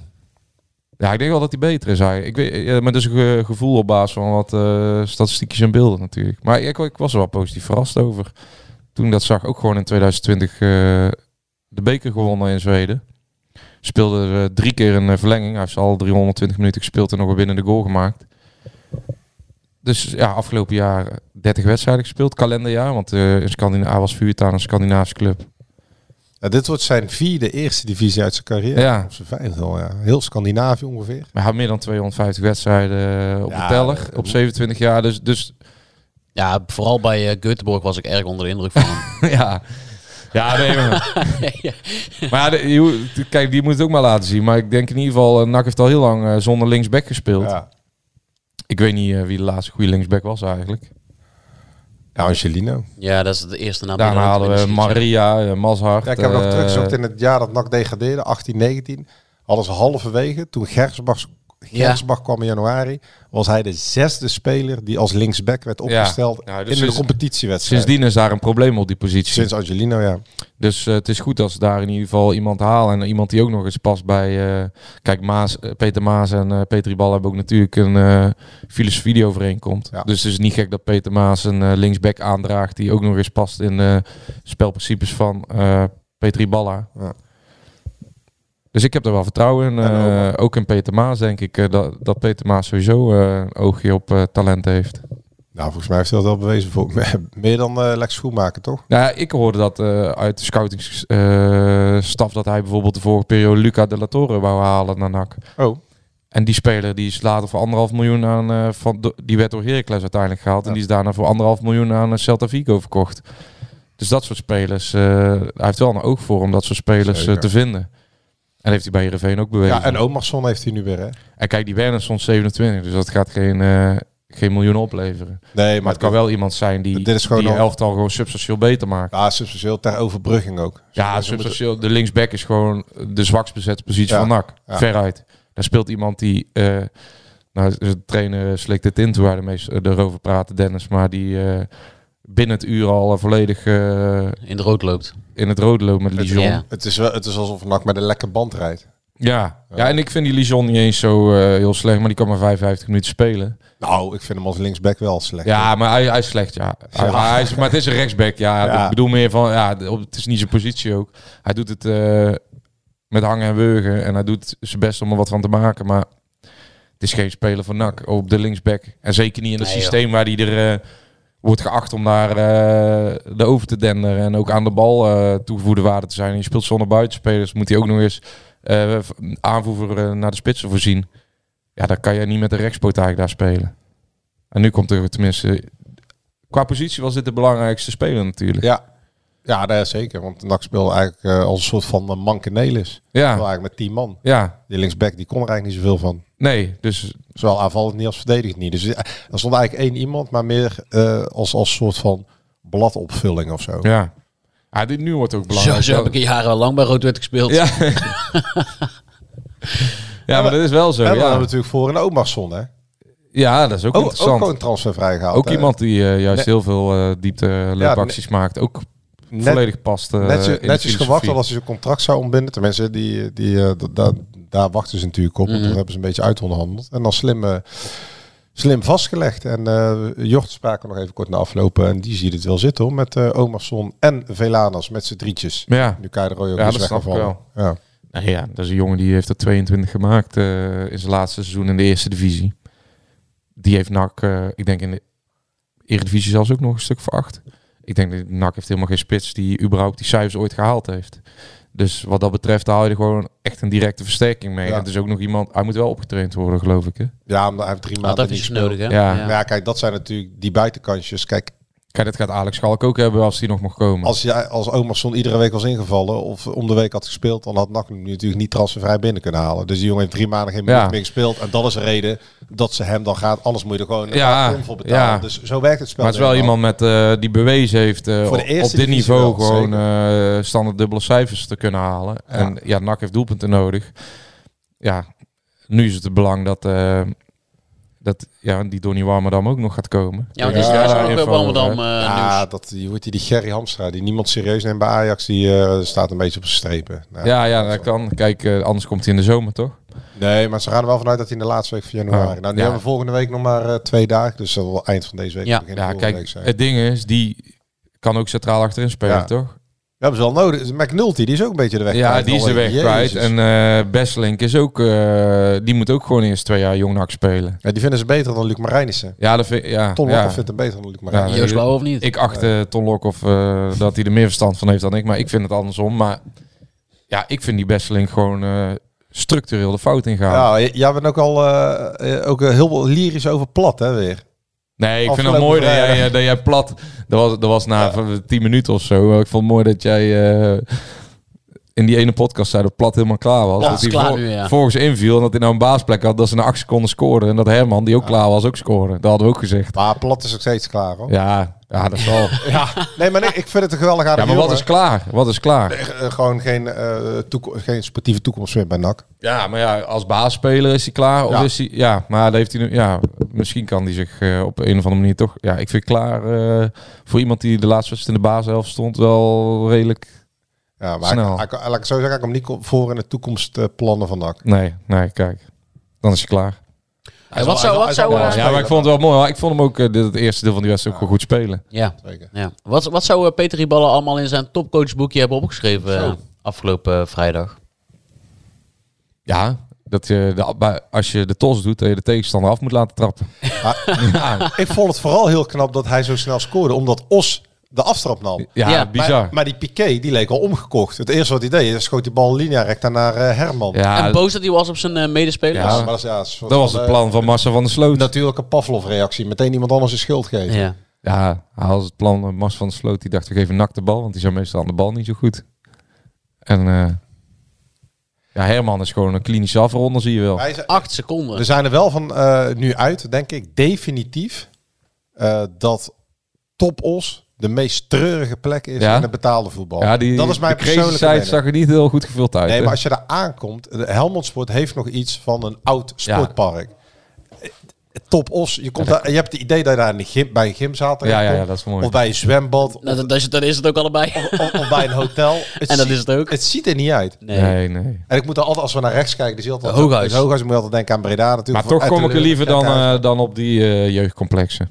S7: Ja, ik denk wel dat hij beter is eigenlijk. Ik weet, eh, ja, maar dat is een ge- gevoel op basis van wat eh, statistiekjes en beelden natuurlijk. Maar ik, ik was er wel positief verrast over. Toen ik dat zag, ook gewoon in 2020 eh, de beker gewonnen in Zweden. Speelde er, eh, drie keer een eh, verlenging. Hij heeft al 320 minuten gespeeld en nog een winnende goal gemaakt. Dus ja, afgelopen jaar 30 wedstrijden gespeeld, kalenderjaar. Want eh in Scandina hij was vuurt aan een Scandinavische club.
S6: Ja, dit wordt zijn vierde eerste divisie uit zijn carrière.
S7: Ja.
S6: Of zijn vijfde al, ja. Heel Scandinavië ongeveer.
S7: Maar hij had meer dan 250 wedstrijden eh, op
S6: Ja,
S7: de teller. Op 27 jaar. Dus, dus
S1: Ja, vooral bij eh, Göteborg was ik erg onder de indruk van hem.
S7: ja. Ja, nee, maar. maar ja, de- je hoeft- kijk, die moet het ook maar laten zien. Maar ik denk in ieder geval, eh, NAC heeft al heel lang eh, zonder linksback gespeeld.
S6: Ja.
S7: Ik weet niet eh, wie de laatste goede linksback was eigenlijk.
S6: ja, Angelino.
S1: ja, dat is de eerste naam. die
S7: Daarna
S1: er ooit
S7: hadden we
S1: binnen schiet, ja.
S7: Maria, eh, Mazhart.
S6: Ja, ik heb nog
S7: eh,
S6: teruggezocht in het jaar dat NAC degradeerde, 18-19. Hadden ze halverwege, toen Gersbach Gersbach kwam in januari. Was hij de zesde speler die als linksback werd opgesteld
S7: Ja, dus
S6: in
S7: sinds-
S6: de competitiewedstrijd.
S7: Sindsdien is daar een probleem op die positie.
S6: Sinds Angelino, ja.
S7: Dus eh, het is goed als ze daar in ieder geval iemand halen. En iemand die ook nog eens past bij... eh, kijk, Maas, eh, Peter Maas en eh Peter Bal hebben ook natuurlijk een eh, filosofie die overeenkomt.
S6: Ja.
S7: Dus het is niet gek dat Peter Maas een eh, linksback aandraagt... die ook nog eens past in eh spelprincipes van eh Peter Balla.
S6: Ja.
S7: Dus ik heb er wel vertrouwen in.
S6: En
S7: eh,
S6: Oma.
S7: ook in Peter Maas denk ik eh, dat, dat Peter Maas sowieso eh, een oogje op eh, talent heeft.
S6: Nou, volgens mij heeft hij dat wel bewezen. Voor, meer dan eh, Lex Schoenmaker, toch?
S7: Nou, ja, ik hoorde dat eh, uit de scoutingsstaf dat hij bijvoorbeeld de vorige periode Luca de la Torre wou halen naar NAC.
S6: Oh.
S7: En die speler die is later voor anderhalf miljoen aan eh, van do- die werd door Heracles uiteindelijk gehaald en
S6: Ja.
S7: die is daarna voor anderhalf miljoen aan eh, Celta Vigo verkocht. Dus dat soort spelers, eh, hij heeft wel een oog voor om dat soort spelers eh,
S6: Zeker.
S7: te vinden. En heeft hij bij Heerenveen ook bewezen.
S6: Ja, en Omarsson heeft hij nu weer, hè?
S7: En kijk, die Werner stond 27, dus dat gaat geen, eh, geen miljoen opleveren.
S6: Nee,
S7: Maar het kan wel iemand zijn die
S6: Dit is gewoon
S7: die
S6: nog-
S7: elftal gewoon substantieel beter maakt.
S6: Ja, substantieel ter overbrugging ook. Dus
S7: Ja,
S6: ze moeten-
S7: substantieel. De linksback is gewoon de zwakst bezette positie
S6: Ja,
S7: van NAC.
S6: ja.
S7: Veruit. Daar speelt iemand die... eh, nou, de trainer slikt het in toen wij ermee- erover praten, Dennis. Maar die eh, binnen het uur al eh, volledig eh,
S1: in de rood loopt.
S7: in het rode loopt met Lijon.
S1: Ja.
S7: Ja.
S6: Het is, wel, het is alsof NAC met een lekker band rijdt.
S7: Ja. en ik vind die Lijon niet eens zo eh, heel slecht. Maar die kan maar 55 minuten spelen.
S6: Nou, ik vind hem als linksback wel slecht.
S7: Ja, maar hij, hij is slecht, ja. Hij-
S6: Ja.
S7: hij is, maar het is een rechtsback, ja.
S6: Ja.
S7: Ik bedoel meer van, ja, de- op- het is niet zijn positie ook. Hij doet het eh, met hangen en wurgen en hij doet zijn best om er wat van te maken, maar het is geen speler van NAC op de linksback. En zeker niet in het
S1: Nee, joh.
S7: systeem waar hij er eh, wordt geacht om daar eh, de over te denderen en ook aan de bal eh toegevoegde waarde te zijn. En je speelt zonder buitenspelers, moet hij ook nog eens eh, v- aanvoer eh, naar de spitsen voorzien. Ja, dan kan je niet met de rechtspoot eigenlijk daar spelen. En nu komt er tenminste... Qua positie was dit de belangrijkste speler natuurlijk.
S6: Ja, ja nee, zeker. Want NAC speelde eigenlijk eh, als een soort van uh, mankenelis. Wel
S7: Ja,
S6: eigenlijk met 10 man.
S7: ja.
S6: Die linksback die kon er eigenlijk niet zoveel van.
S7: Nee, dus
S6: Zowel aanvallend niet als verdedigend niet. Dus eh, er stond eigenlijk één iemand, maar meer eh, als, als soort van bladopvulling of zo.
S7: ja. Ah, dit nu wordt ook
S1: Zo,
S7: belangrijk.
S1: zo heb ik jaren lang bij Rood-Wit gespeeld.
S7: Ja. ja, maar Oh, dat is wel zo.
S6: en dan hebben
S7: Ja,
S6: we natuurlijk voor een Omarsson, hè?
S7: ja dat is ook
S6: Ook, ook
S7: interessant.
S6: gewoon
S7: Ook,
S6: transfer vrijgehaald. hè?
S7: iemand die eh, juist heel veel eh, diepte loopacties maakt. Ook
S6: Net-
S7: volledig past eh,
S6: netjes,
S7: in de
S6: netjes
S7: filosofie.
S6: gewacht al als hij zijn contract zou ontbinden. Tenminste, die, die, eh, da- da- daar wachten ze natuurlijk op.
S7: Mhm.
S6: want Dat hebben ze een beetje uitonderhandeld. En dan slim, eh, slim vastgelegd. En eh Jocht spraken we nog even kort na aflopen. En die ziet het wel zitten hoor. Met eh Omarsson en Velanas met z'n drietjes.
S7: Maar ja.
S6: Nu Kai de Roy ook
S7: Ja,
S6: is
S7: dat snap ik
S6: weggevallen. Ja.
S7: Nou ja, dat is een jongen die heeft er 22 gemaakt eh, in zijn laatste seizoen in de eerste divisie. Die heeft NAC, eh, ik denk in de Eredivisie zelfs ook nog een stuk voor acht. Ik denk dat NAC heeft helemaal geen spits die überhaupt die cijfers ooit gehaald heeft. Dus wat dat betreft haal je er gewoon echt een directe versterking mee.
S6: Ja.
S7: En het is ook nog iemand, hij moet wel opgetraind worden geloof ik hè?
S6: ja, omdat Ah, hij heeft drie
S1: Had
S6: maanden
S1: even
S6: niet
S1: iets
S6: gespeeld.
S1: nodig, hè?
S7: Ja.
S6: Maar ja, kijk, dat zijn natuurlijk die buitenkantjes. Kijk,
S7: Kijk, dat gaat Alex Schalk ook hebben als hij nog mag komen.
S6: als, jij, als Omerson iedere week was ingevallen of om de week had gespeeld, dan had NAC hem nu natuurlijk niet transfervrij binnen kunnen halen. Dus die jongen heeft drie maanden geen
S7: Ja.
S6: minuut meer gespeeld. En dat is de reden dat ze hem dan gaat. Anders moet je er gewoon een
S7: Ja,
S6: ja, voor betalen.
S7: ja.
S6: Dus zo werkt het spel.
S7: Maar het is wel
S6: nu eenmaal.
S7: iemand met, eh, die bewezen heeft eh,
S6: Voor de
S7: op- op
S6: eerste
S7: dit
S6: divisie
S7: niveau
S6: wel,
S7: gewoon eh, standaard dubbele cijfers te kunnen halen. En ja, NAC heeft doelpunten nodig. Ja, nu is het het belang dat, eh, dat ja, die Donny Warmerdam ook nog gaat komen.
S1: Ja, want die is
S6: Ja,
S1: juist ook bij
S7: info,
S1: Amsterdam eh,
S6: Ja, dat, je hoort die, die Gerry Hamstra, die niemand serieus neemt bij Ajax, die eh, staat een beetje op zijn strepen. Nou,
S7: Ja, ja, dat kan. Kijk, eh, anders komt hij in de zomer, toch?
S6: Nee, maar ze gaan er wel vanuit dat hij in de laatste week van januari.
S7: Ah,
S6: nou, nu
S7: ja.
S6: hebben we volgende week nog maar eh, twee dagen, dus dat zal eind van deze week,
S1: Ja,
S6: begin
S7: Ja,
S6: volgende
S7: kijk,
S6: week zijn.
S7: het ding is, die kan ook centraal achterin spelen,
S6: Ja.
S7: toch?
S6: We hebben ze wel nodig. McNulty, die is ook een beetje de weg
S7: Ja,
S6: kwijt.
S7: die is de
S6: Alweer.
S7: weg kwijt.
S6: Jezus.
S7: En eh Besselink is ook, eh, die moet ook gewoon eerst twee jaar jong NAC spelen.
S6: Ja, die vinden ze beter dan Luc Marijnissen.
S7: Ja, dat vind ja,
S6: Tom
S7: ja.
S6: Locker vindt hem beter dan Luc
S7: Ja,
S6: Marijnissen.
S1: Joost Blauw of niet?
S7: Ik acht eh, Ton Lokhoff eh, dat hij er meer verstand van heeft dan ik. Maar ik vind het andersom. Maar ja, ik vind die Besseling gewoon eh, structureel de fout ingaan.
S6: Ja, j- jij bent ook al eh, eh, ook eh, heel lyrisch over plat, hè, weer.
S7: nee, ik vind het
S6: afgelopen
S7: mooi dat jij,
S6: vrijdag.
S7: eh, dat jij plat... Dat was, dat was na tien minuten of zo. Ik vond het mooi dat jij... eh, in die ene podcast zei dat Plat helemaal klaar was.
S1: Ja,
S7: dat
S1: is klaar
S7: vol-
S1: nu, ja.
S7: volgens inviel en dat hij nou een baasplek had dat ze na acht seconden scoorden. En dat Herman, die ook klaar was, ook scoorde. Dat hadden we ook gezegd.
S6: Maar Plat is ook steeds klaar, hoor.
S7: Ja, ja dat is wel...
S6: Nee, maar nee, ik vind het een geweldig
S7: ja,
S6: aardige
S7: maar wat
S6: jongen.
S7: is klaar? Wat is klaar?
S6: Eh, gewoon geen, eh, toeko- geen sportieve toekomst meer bij NAC.
S7: Ja, maar ja, als baasspeler is hij klaar. Of
S6: Ja.
S7: is hij, ja, maar dat heeft hij nu, ja, misschien kan hij zich eh, op een of andere manier toch. Ja, ik vind klaar eh, voor iemand die de laatste wedstrijd in de baashelft stond wel redelijk.
S6: Ja, maar
S7: Snel.
S6: ik- ik- laat ik het zo zeggen, ik kom niet voor in de toekomstplannen van NAC.
S7: Nee, nee, kijk. Dan is hij klaar.
S1: Hey, wat zou... Wat zou
S6: Ja,
S1: eh,
S7: Ja, maar ik vond het wel mooi. hoor. Ik vond hem ook eh, dit, het eerste deel van die wedstrijd ook wel goed spelen.
S1: ja.
S6: Zeker.
S1: Ja. Wat, wat zou eh, Peter Riballa allemaal in zijn topcoachboekje hebben opgeschreven eh, afgelopen eh, vrijdag?
S7: Ja, dat je de, bij- als je de tos doet, dat je de tegenstander af moet laten trappen. ja,
S6: Ik vond het vooral heel knap dat hij zo snel scoorde, omdat Os de aftrap nam.
S7: ja,
S1: Ja.
S7: bizar.
S6: Maar, maar die Piqué, die leek al omgekocht. Het eerste wat hij deed, hij schoot die bal linea recta naar eh, Herman.
S7: ja,
S1: en boos dat hij was op zijn eh, medespelers?
S7: Ja.
S6: maar dat, is, ja, een soort
S7: dat was
S6: van,
S7: het
S6: eh,
S7: plan van Marcel van der Sloot.
S6: Natuurlijk een Pavlov-reactie. Meteen iemand anders een schuld geven.
S1: Ja.
S7: Ja, hij had het plan. eh, Mars van der Sloot die dacht, we geven Nak de bal. Want die zijn meestal aan de bal niet zo goed. En eh, ja, Herman is gewoon een klinische afronder, zie je wel.
S6: Wij zijn-
S1: Acht seconden.
S7: Dus-
S6: we zijn er wel van eh, nu uit, denk ik, definitief, eh, dat Top Os de meest treurige plek is
S7: Ja.
S6: in het betaalde voetbal.
S7: Ja, die,
S6: dat is mijn
S7: de crazy
S6: persoonlijke
S7: side
S6: mening.
S7: zag er niet heel goed gevuld uit.
S6: Nee,
S7: hè?
S6: maar als je daar aankomt, de Helmond Sport heeft nog iets van een oud
S7: Ja.
S6: sportpark. Eh, Top Os, je, komt daar, je hebt het idee dat je daar in de gym, bij een gym zaten
S7: Ja, ja, ja, dat is mooi.
S6: Of bij een zwembad, of,
S1: Nou, dat, dat is, dat is het ook allebei.
S6: of- of bij een hotel.
S1: En dat
S6: ziet-
S1: is het ook.
S6: Het ziet er niet uit.
S1: Nee.
S7: nee, nee.
S6: En ik moet er altijd, als we naar rechts kijken, dus je altijd...
S1: Hooghuis.
S6: het Hooghuis, moet je altijd denken aan Breda
S7: Maar
S6: natuurlijk.
S7: toch kom ik er
S6: Etteleur,
S7: liever dan,
S6: Kerkhuis.
S7: eh, dan op die eh, jeugdcomplexen.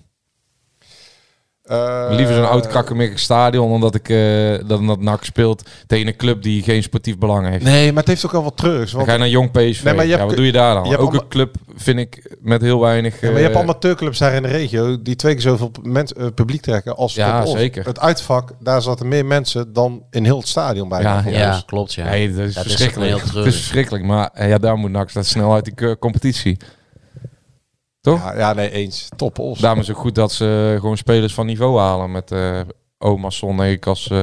S6: Eh,
S7: liever zo'n oud krakkemikkig stadion, omdat ik eh dan dat NAC speelt tegen een club die geen sportief belang heeft.
S6: Nee, maar het heeft ook wel wat treurigs.
S7: Dan
S6: Want,
S7: ga je naar Jong PSV.
S6: Nee, maar je
S7: ja,
S6: hebt-
S7: wat doe je daar dan?
S6: je hebt
S7: Ook
S6: allemaal-
S7: een club, vind ik, met heel weinig...
S6: Ja, maar je hebt
S7: eh,
S6: amateurclubs daar in de regio die twee keer zoveel mens, eh, publiek trekken als
S7: Ja,
S6: Top Os.
S7: zeker.
S6: Het uitvak, daar zaten meer mensen dan in heel het stadion bij.
S7: Ja,
S1: Ja,
S7: Ja,
S1: klopt. Ja.
S7: Nee, dat is
S1: Dat is toch
S7: verschrikkelijk.
S1: wel heel
S7: het is
S1: treurig.
S7: verschrikkelijk, maar eh, ja, daar moet NAC dat snel uit die eh, competitie. Toch?
S6: Ja, ja, nee, eens. Top Os.
S7: Daarom is het ook goed dat ze eh, gewoon spelers van niveau halen met eh Oma Sonnek als, eh,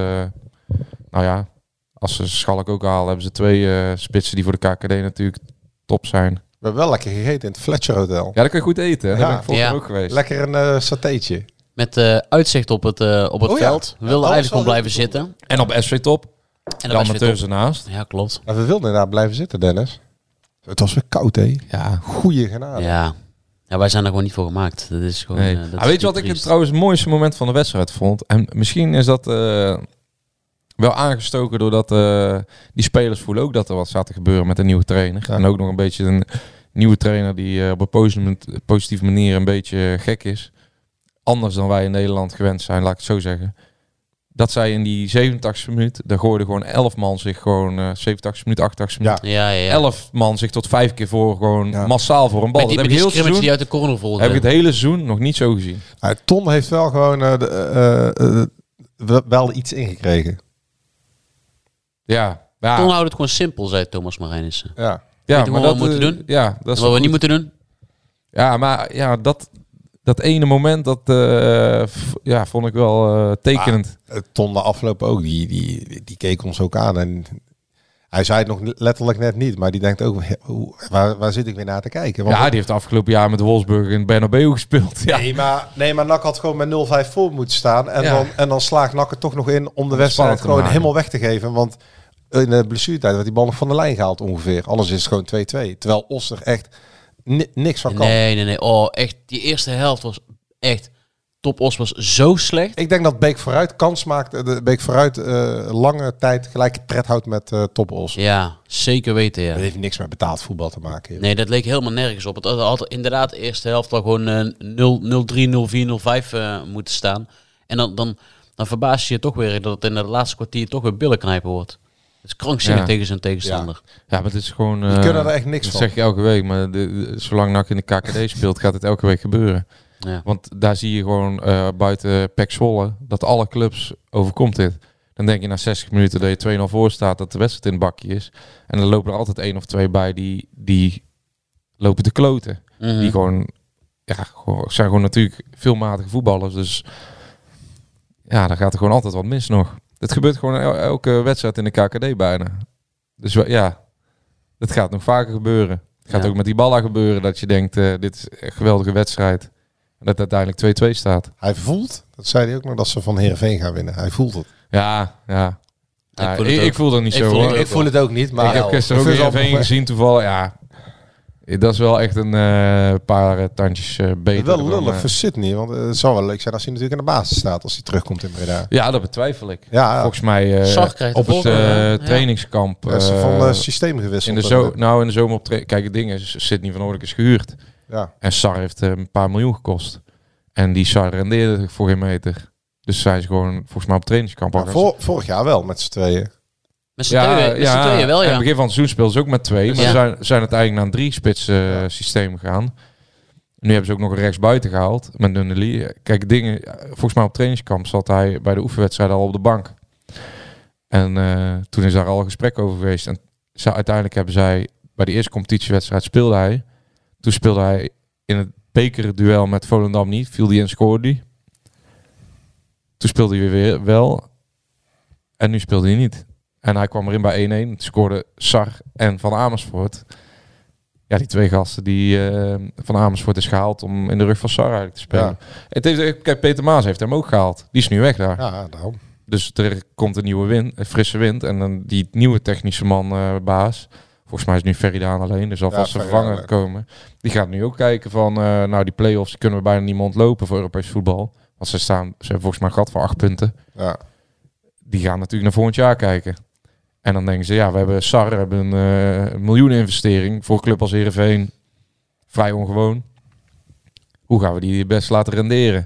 S7: nou ja, als ze Schalk ook halen, hebben ze twee eh, spitsen die voor de KKD natuurlijk top zijn.
S6: We hebben wel lekker gegeten in het Fletcher Hotel.
S7: Ja, dat kun je goed eten. Hè?
S6: Ja.
S7: Daar ben ik volgens mij
S1: Ja.
S7: ook geweest.
S6: Lekker een eh satéetje.
S1: Met eh, uitzicht op het, eh, op het
S6: Oh ja.
S1: veld. We
S6: Ja, dat
S1: wilden
S6: was
S1: eigenlijk
S6: wel
S1: gewoon blijven
S6: leuk.
S1: zitten. En
S7: En op SV Top,
S1: dan
S7: de
S1: was het weer
S7: amateurs ernaast.
S1: top. Ja, klopt.
S6: Maar we wilden inderdaad blijven zitten, Dennis. Het was weer koud, hè?
S7: Ja,
S6: Goeie genade.
S1: Ja. ja, wij zijn er gewoon niet voor gemaakt. Dat is gewoon...
S7: Nee.
S1: eh, dat
S7: Ah,
S1: is
S7: weet je
S1: niet
S7: wat ik het
S1: triest.
S7: trouwens het mooiste moment van de wedstrijd vond? En misschien is dat eh, wel aangestoken doordat eh, die spelers voelen ook dat er wat staat te gebeuren met een nieuwe trainer.
S6: Ja.
S7: En ook nog een beetje een nieuwe trainer die eh, op een posi- positieve manier een beetje gek is. Anders dan wij in Nederland gewend zijn, laat ik het zo zeggen. Dat zij in die 87 minuut, daar gooiden gewoon 11 man zich gewoon, eh 87 minuut, 88 minuut.
S1: Ja, ja, ja.
S7: 11 man zich tot vijf keer voor, gewoon
S6: Ja.
S7: massaal voor een bal.
S1: Met die,
S7: dat
S1: met
S7: heb ik
S1: die
S7: heel
S1: scrimmage
S7: seizoen,
S1: die uit de corner volgde.
S7: heb ik het hele seizoen nog niet zo gezien.
S6: Nou, Ton heeft wel gewoon eh, de, eh, eh, wel- wel iets ingekregen.
S7: Ja, ja,
S1: Ton houdt het gewoon simpel, zei Thomas Marijnissen.
S6: Ja.
S7: ja
S1: Weten we wat we
S7: eh,
S1: moeten doen?
S7: Ja, dat
S1: En Wat
S7: is
S1: we niet
S7: goed.
S1: moeten doen?
S7: ja, maar ja, dat, dat ene moment, dat eh, v- ja, vond ik wel eh, tekenend.
S6: Eh, Ton de afloop ook, die, die, die keek ons ook aan. En hij zei het nog ne- letterlijk net niet, maar die denkt ook, "Hé, hoe- waar, waar zit ik weer naar te kijken? Want-
S7: ja, die heeft afgelopen jaar met Wolfsburg in Bernabeu gespeeld. Ja.
S6: Nee, maar, nee, maar NAC had gewoon met 0-5 voor moeten staan. En,
S7: Ja.
S6: dan, en dan slaagt NAC er toch nog in om de wedstrijd
S7: spannend te
S6: gewoon
S7: maken.
S6: helemaal weg te geven. Want in de blessuretijd werd die bal nog van de lijn gehaald ongeveer. Anders is het gewoon 2-2. Terwijl Oster echt ni- niks van kan.
S1: Nee, nee, nee. Oh, echt. Die eerste helft was echt... Top Os was zo slecht.
S6: Ik denk dat Beek vooruit kans maakt. eh, de- Beek vooruit eh, lange tijd gelijk het pret houdt met eh Top Os.
S1: Ja, zeker weten, ja.
S6: Dat heeft niks met betaald voetbal te maken. joh.
S1: Nee, dat leek helemaal nergens op. Het had- had inderdaad de eerste helft al gewoon eh, 0 0-3, 0-4, 0-5 eh, moeten staan. En dan, dan, dan verbaas je je toch weer dat het in het laatste kwartier toch weer billen knijpen wordt. Het is krankzinnig
S7: Ja.
S1: tegen zijn tegenstander.
S7: ja, maar het is gewoon...
S6: Die
S7: eh,
S6: kunnen er echt niks
S7: dat
S6: van.
S7: zeg je elke week, maar de, de- zolang NAC in de KKD speelt, gaat het elke week gebeuren.
S1: Ja.
S7: Want daar zie je gewoon eh, buiten Pek Zwolle, dat alle clubs overkomt dit. Dan denk je na 60 minuten dat je 2-0 voor staat, dat de wedstrijd in het bakje is. En dan lopen er altijd één of twee bij die, die lopen te kloten.
S1: Mhm.
S7: Die gewoon, ja, gewoon, zijn gewoon natuurlijk veelmatige voetballers. Dus ja, dan gaat er gewoon altijd wat mis nog. Dat gebeurt gewoon el- elke wedstrijd in de KKD bijna. Dus we- ja, dat gaat nog vaker gebeuren. Het gaat
S1: Ja.
S7: ook met die ballen gebeuren dat je denkt, eh, dit is echt een geweldige wedstrijd. En dat het uiteindelijk 2-2 staat.
S6: Hij voelt, dat zei hij ook nog, dat ze van Heerenveen gaan winnen. Hij voelt het.
S7: Ja, ja. Ja,
S1: voel
S7: Ik voel,
S1: het
S7: ik,
S1: ook.
S7: voel dat niet
S1: Ik
S7: zo.
S1: voel
S7: hoor.
S1: het ook.
S6: Ik voel het ook niet, maar...
S7: ik heb gisteren ook
S6: Het is
S7: weer even
S6: allemaal-
S7: gezien toevallig. Ja, dat is wel echt een eh, paar eh, tandjes eh, beter.
S6: Wel
S7: dan,
S6: lullig
S7: eh,
S6: voor Sydney, want eh, het zou wel leuk zijn als hij natuurlijk in de basis staat als hij terugkomt in Breda.
S7: ja, dat betwijfel ik.
S6: Ja, ja.
S7: Volgens mij eh,
S1: Sar krijgt de
S7: op het
S1: voorkeur,
S7: eh,
S1: hè? Ja.
S7: trainingskamp.
S6: Ah. Ja, ze
S7: eh,
S6: van eh, systeem gewisseld.
S7: in de zo nou, in de zomer op tra- Kijk, het ding is, Sydney van Oorlijk is gehuurd.
S6: Ja.
S7: En Sar heeft eh, een paar miljoen gekost. En die Sar rendeerde voor geen meter. Dus zijn ze gewoon volgens mij op trainingskamp.
S6: Maar
S7: al gaan
S6: vor- vorig jaar wel, met z'n tweeën.
S1: Met z'n tweeën, met z'n tweeën wel,
S7: aan
S1: ja.
S7: het begin van het seizoen speelden ze ook met twee. Maar
S1: Ja.
S7: ze zijn, zijn uiteindelijk naar een drie-spits eh, systeem gegaan. Nu hebben ze ook nog een rechtsbuiten gehaald met Nunnely. Kijk, dingen, volgens mij op trainingskamp zat hij bij de oefenwedstrijd al op de bank. En eh, toen is daar al een gesprek over geweest. En ze, uiteindelijk hebben zij, bij de eerste competitiewedstrijd speelde hij. Toen speelde hij in het bekerduel met Volendam niet. Viel die en scoorde die. Toen speelde hij weer wel. En nu speelde hij niet. En hij kwam erin bij 1-1. Scoorde Sar en Van Amersfoort. Ja, die twee gasten die eh, Van Amersfoort is gehaald om in de rug van Sar eigenlijk te spelen. Het heeft, kijk, Peter Maas heeft hem ook gehaald. Die is nu weg daar.
S6: Ja, daarom.
S7: Dus er komt een nieuwe wind, een frisse wind. En dan die nieuwe technische man, eh, baas. Volgens mij is nu Feridaan alleen. Dus alvast
S6: Ja,
S7: een
S6: Feridaan,
S7: vervanger
S6: ja.
S7: komen. Die gaat nu ook kijken van, eh, nou die play-offs kunnen we bijna niet meer ontlopen voor Europees voetbal. Want ze staan, ze hebben volgens mij een gat van acht punten
S6: Ja.
S7: die gaan natuurlijk naar volgend jaar kijken. En dan denken ze, ja, we hebben SAR, we hebben een miljoenen miljoeninvestering voor een club als Heerenveen. Vrij ongewoon. Hoe gaan we die het best laten renderen?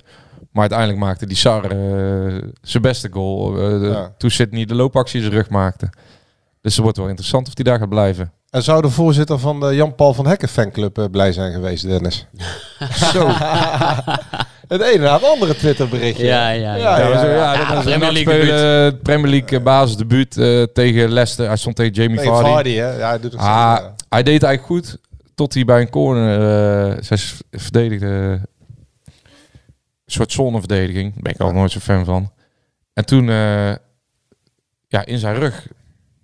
S7: Maar uiteindelijk maakte die SAR eh, zijn beste goal. eh, de-
S6: Ja.
S7: Toen Sidney de loopactie in zijn rug maakte. Dus het wordt wel interessant of die daar gaat blijven.
S6: En zou de voorzitter van de Jan-Paul van Hekken fanclub eh, blij zijn geweest, Dennis? Zo. het ene na het andere Twitterberichtje.
S1: Ja, ja, ja.
S6: Ja, ja,
S7: we
S6: ja.
S7: zullen- dat
S1: Ja,
S7: is een
S1: Premier League
S7: nachtspelen, eh, Premier League eh, basisdebuut eh, tegen Leicester. Hij stond tegen Jamie
S6: Tegen
S7: Vardy.
S6: Vardy, hè? Ja, hij doet het
S7: Ah,
S6: zelf, eh,
S7: hij deed het eigenlijk goed tot hij bij een corner eh, zij s- verdedigde een soort zonneverdediging. Daar ben ik al nooit zo'n fan van. En toen eh, ja, in zijn rug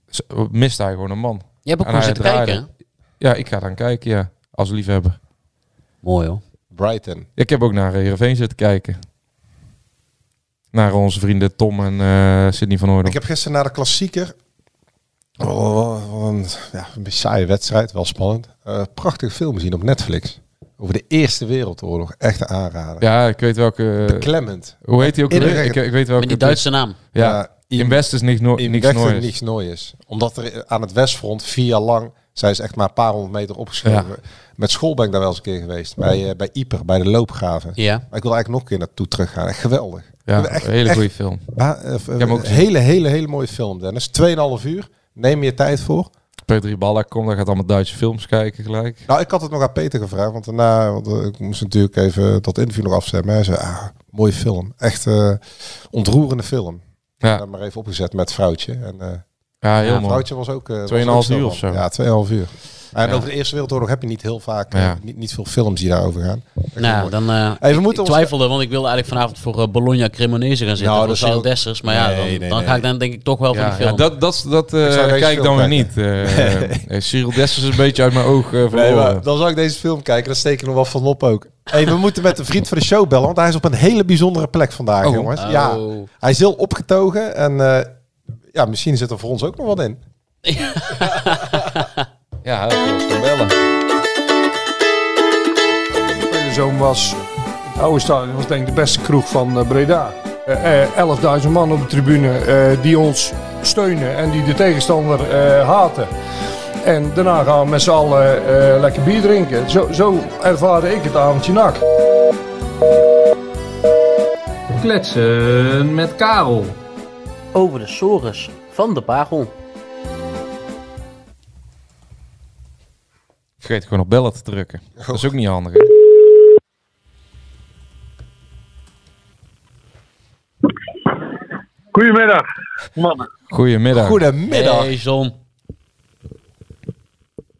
S7: s- miste hij gewoon een man.
S1: Je hebt ook
S7: En
S1: gewoon
S7: hij
S1: zitten
S7: draaide.
S1: kijken. hè?
S7: Ja, ik ga dan kijken, ja, als liefhebber.
S1: Mooi, hoor.
S6: ja. Brighton.
S7: Ik heb ook naar Heerenveen zitten kijken. Naar onze vrienden Tom en eh Sidney van Oordel.
S6: Ik heb gisteren naar de klassieker. Oh, wat een, ja, een beetje saaie wedstrijd, wel spannend. Eh prachtig film gezien op Netflix. Over de Eerste Wereldoorlog. Echt een aanrader.
S7: Ja, ik weet
S6: eh,
S7: welke...
S6: Beklemmend.
S7: hoe heet hij ook
S6: Iedereen-
S7: weer? Ik, ik weet welke...
S1: Met die Duitse naam.
S7: Ja, in West is niks, no
S6: in
S7: niks
S6: Wechten
S7: nooit.
S6: niks noois. Omdat er aan het westfront vier jaar lang, zij is echt maar een paar honderd meter opgeschreven. Met school ben ik daar wel eens een keer geweest. Bij, eh, bij Ieper, bij de loopgraven.
S1: Ja.
S6: Maar ik wil eigenlijk nog een keer naartoe teruggaan. Echt geweldig.
S7: Ja,
S6: Echt-
S7: een hele
S6: echt-
S7: goede film.
S6: Ba- eh, eh,
S7: hem ook gezien.
S6: hele, hele, hele mooie film, Dennis. 2,5 uur. Neem je tijd voor.
S7: Petri Ballack komt, dan gaat allemaal Duitse films kijken gelijk.
S6: Nou, ik had het nog aan Peter gevraagd, want daarna, want eh, ik moest natuurlijk even dat interview nog afzetten. Maar hij zei, ah, mooie film. Echt eh, ontroerende film.
S7: Ja,
S6: Dan maar even opgezet met vrouwtje. En, eh,
S7: ja heel
S6: ja,
S7: mooi.
S6: vrouwtje was ook... eh, was
S7: 2,5
S6: ook zo
S7: uur
S6: van.
S7: of zo.
S6: Ja, 2,5 uur. En
S7: Ja.
S6: over de Eerste Wereldoorlog heb je niet heel vaak, eh,
S7: Ja.
S6: niet, niet veel films die daarover gaan. Echt heel
S1: Nou,
S6: mooi.
S1: dan... eh,
S6: Hey, we
S1: ik-
S6: moeten
S1: ik
S6: ons-
S1: twijfelde, want ik wilde eigenlijk vanavond voor eh, Bologna Cremonese gaan zitten.
S6: Nou,
S1: voor
S6: dat zou-
S1: Seel Dessers. Maar ja,
S6: Nee,
S1: dan,
S6: nee,
S1: dan
S6: nee.
S1: ga ik dan denk ik toch wel voor
S7: Ja,
S1: die film.
S7: ja, dat dat, dat eh,
S6: Ik zou deze
S7: kijk ik dan weer
S6: film
S7: niet. Eh, eh, Cyril Dessers is een beetje uit mijn oog eh,
S6: Nee,
S7: verloren.
S6: maar dan zou ik deze film kijken, dan steek ik er nog wel van op ook. Hey, we moeten met een vriend van de show bellen, want hij is op een hele bijzondere plek vandaag,
S7: Oh.
S6: jongens.
S1: Oh.
S6: Ja, hij is heel opgetogen en eh, ja, misschien zit er voor ons ook nog wat in.
S7: Ja, dat was te bellen.
S8: De zoon was, het oude stadion was denk ik de beste kroeg van eh, Breda. Eh, eh, 11.000 man op de tribune eh, die ons steunen en die de tegenstander eh, haten. En daarna gaan we met z'n allen eh, lekker bier drinken. Zo, zo ervaarde ik het avondje nak.
S9: Kletsen met Karel. Over de sores van de Pagel.
S7: Vergeet gewoon op bellen te drukken.
S6: Oh.
S7: Dat is ook niet handig. hè?
S10: Goedemiddag, mannen.
S7: Goedemiddag.
S6: Goedemiddag.
S1: Hey, John.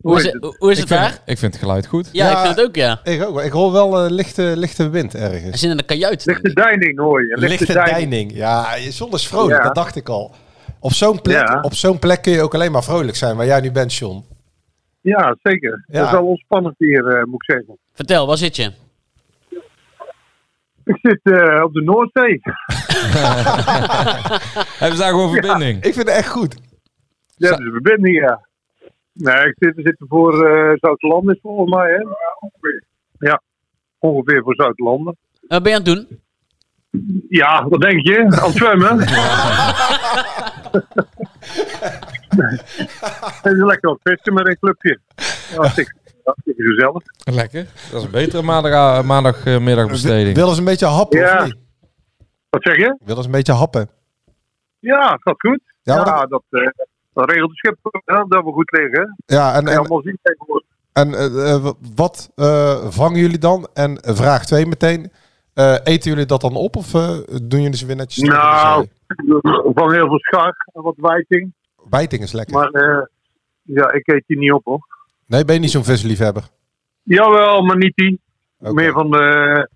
S1: Hoe is het, hoe is het
S7: Ik vind-
S1: daar?
S7: Ik vind het geluid goed.
S1: Ja, ik vind het ook, ja.
S6: Ik ook. Ik hoor wel eh, lichte, lichte wind ergens.
S1: Hij zit in een kajuit.
S10: Lichte deining hoor je.
S6: Lichte, deining. Ja, je zon is vrolijk,
S10: Ja.
S6: dat dacht ik al. Op zo'n plek,
S10: Ja.
S6: op zo'n plek kun je ook alleen maar vrolijk zijn, waar jij nu bent, John.
S10: Ja, zeker.
S6: Ja.
S10: Dat is wel ontspannend hier, eh, moet ik zeggen.
S1: Vertel, waar zit je?
S10: Ik zit eh, op de Noordzee.
S7: Hebben ze daar gewoon verbinding?
S6: Ik vind het echt goed.
S10: Ja, dat is een verbinding, ja. Nee, ik zit, we zitten voor eh Zuid-Landen, is volgens mij, hè? Ja, ongeveer voor Zuid-Landen.
S1: Wat ben je aan het doen?
S10: Ja, wat denk je? Aan het zwemmen? Het is lekker wat vissen met een clubje. Hartstikke, hartstikke gezellig.
S7: Lekker. Dat is een betere maandag, eh, maandagmiddagbesteding.
S6: Wil eens een beetje happen,
S10: Ja.
S6: of niet?
S10: Wat zeg je?
S6: Wil eens een beetje happen.
S10: Ja, gaat goed.
S6: Ja,
S10: Ja,
S6: maar
S10: dat, eh, dat regelt de schip hè, dat we goed liggen. hè.
S6: Ja, en,
S10: Kan je
S6: en,
S10: allemaal zien tegenwoordig.
S6: en eh, eh, wat eh, vangen jullie dan? En vraag 2 meteen. eh, eten jullie dat dan op of eh, doen jullie ze weer netjes? terug in de
S10: Nou,
S6: zee?
S10: van heel veel schar en wat wijting.
S6: Bijting is lekker.
S10: Maar eh, ja, ik eet die niet op hoor.
S6: Nee, ben je niet zo'n visliefhebber?
S10: Jawel, maar niet die.
S6: Oké.
S10: Meer van de,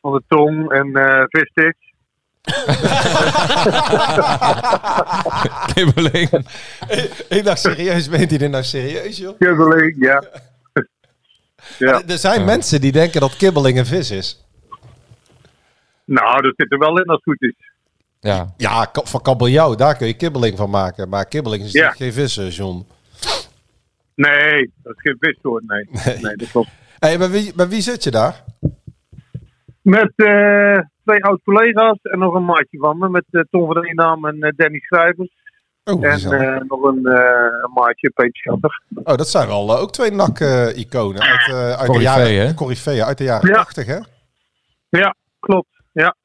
S10: van de tong en eh vissticks.
S7: Kibbeling.
S6: ik dacht serieus, meent hij dit nou serieus, joh?
S10: Kibbeling, ja. ja.
S6: Er zijn mensen die denken dat kibbeling een vis is.
S10: Nou, dat zit er wel in als het goed is.
S7: Ja.
S6: Ja, ka- van kabeljauw, daar kun je kibbeling van maken. Maar kibbeling is
S10: Ja.
S6: natuurlijk geen vis, eh, John.
S10: Nee, dat is geen vissoort, nee.
S6: Nee.
S10: Nee, dat klopt.
S6: Hey, bij, wie, bij wie zit je daar?
S10: Met eh, twee oud-collega's en nog een maatje van me. Met eh, Tom van Eenaam en eh, Danny Schrijvers.
S6: Oh,
S10: En
S6: gezellig.
S10: eh, nog een, eh, een maatje, Peter Schatter.
S6: oh dat zijn wel eh, ook twee NAC-iconen. uit, eh, uit de
S7: Coryphée,
S6: jaren,
S7: hè?
S6: Coryphée, uit de jaren
S10: Ja.
S6: 80, hè?
S10: Ja, klopt. Ja,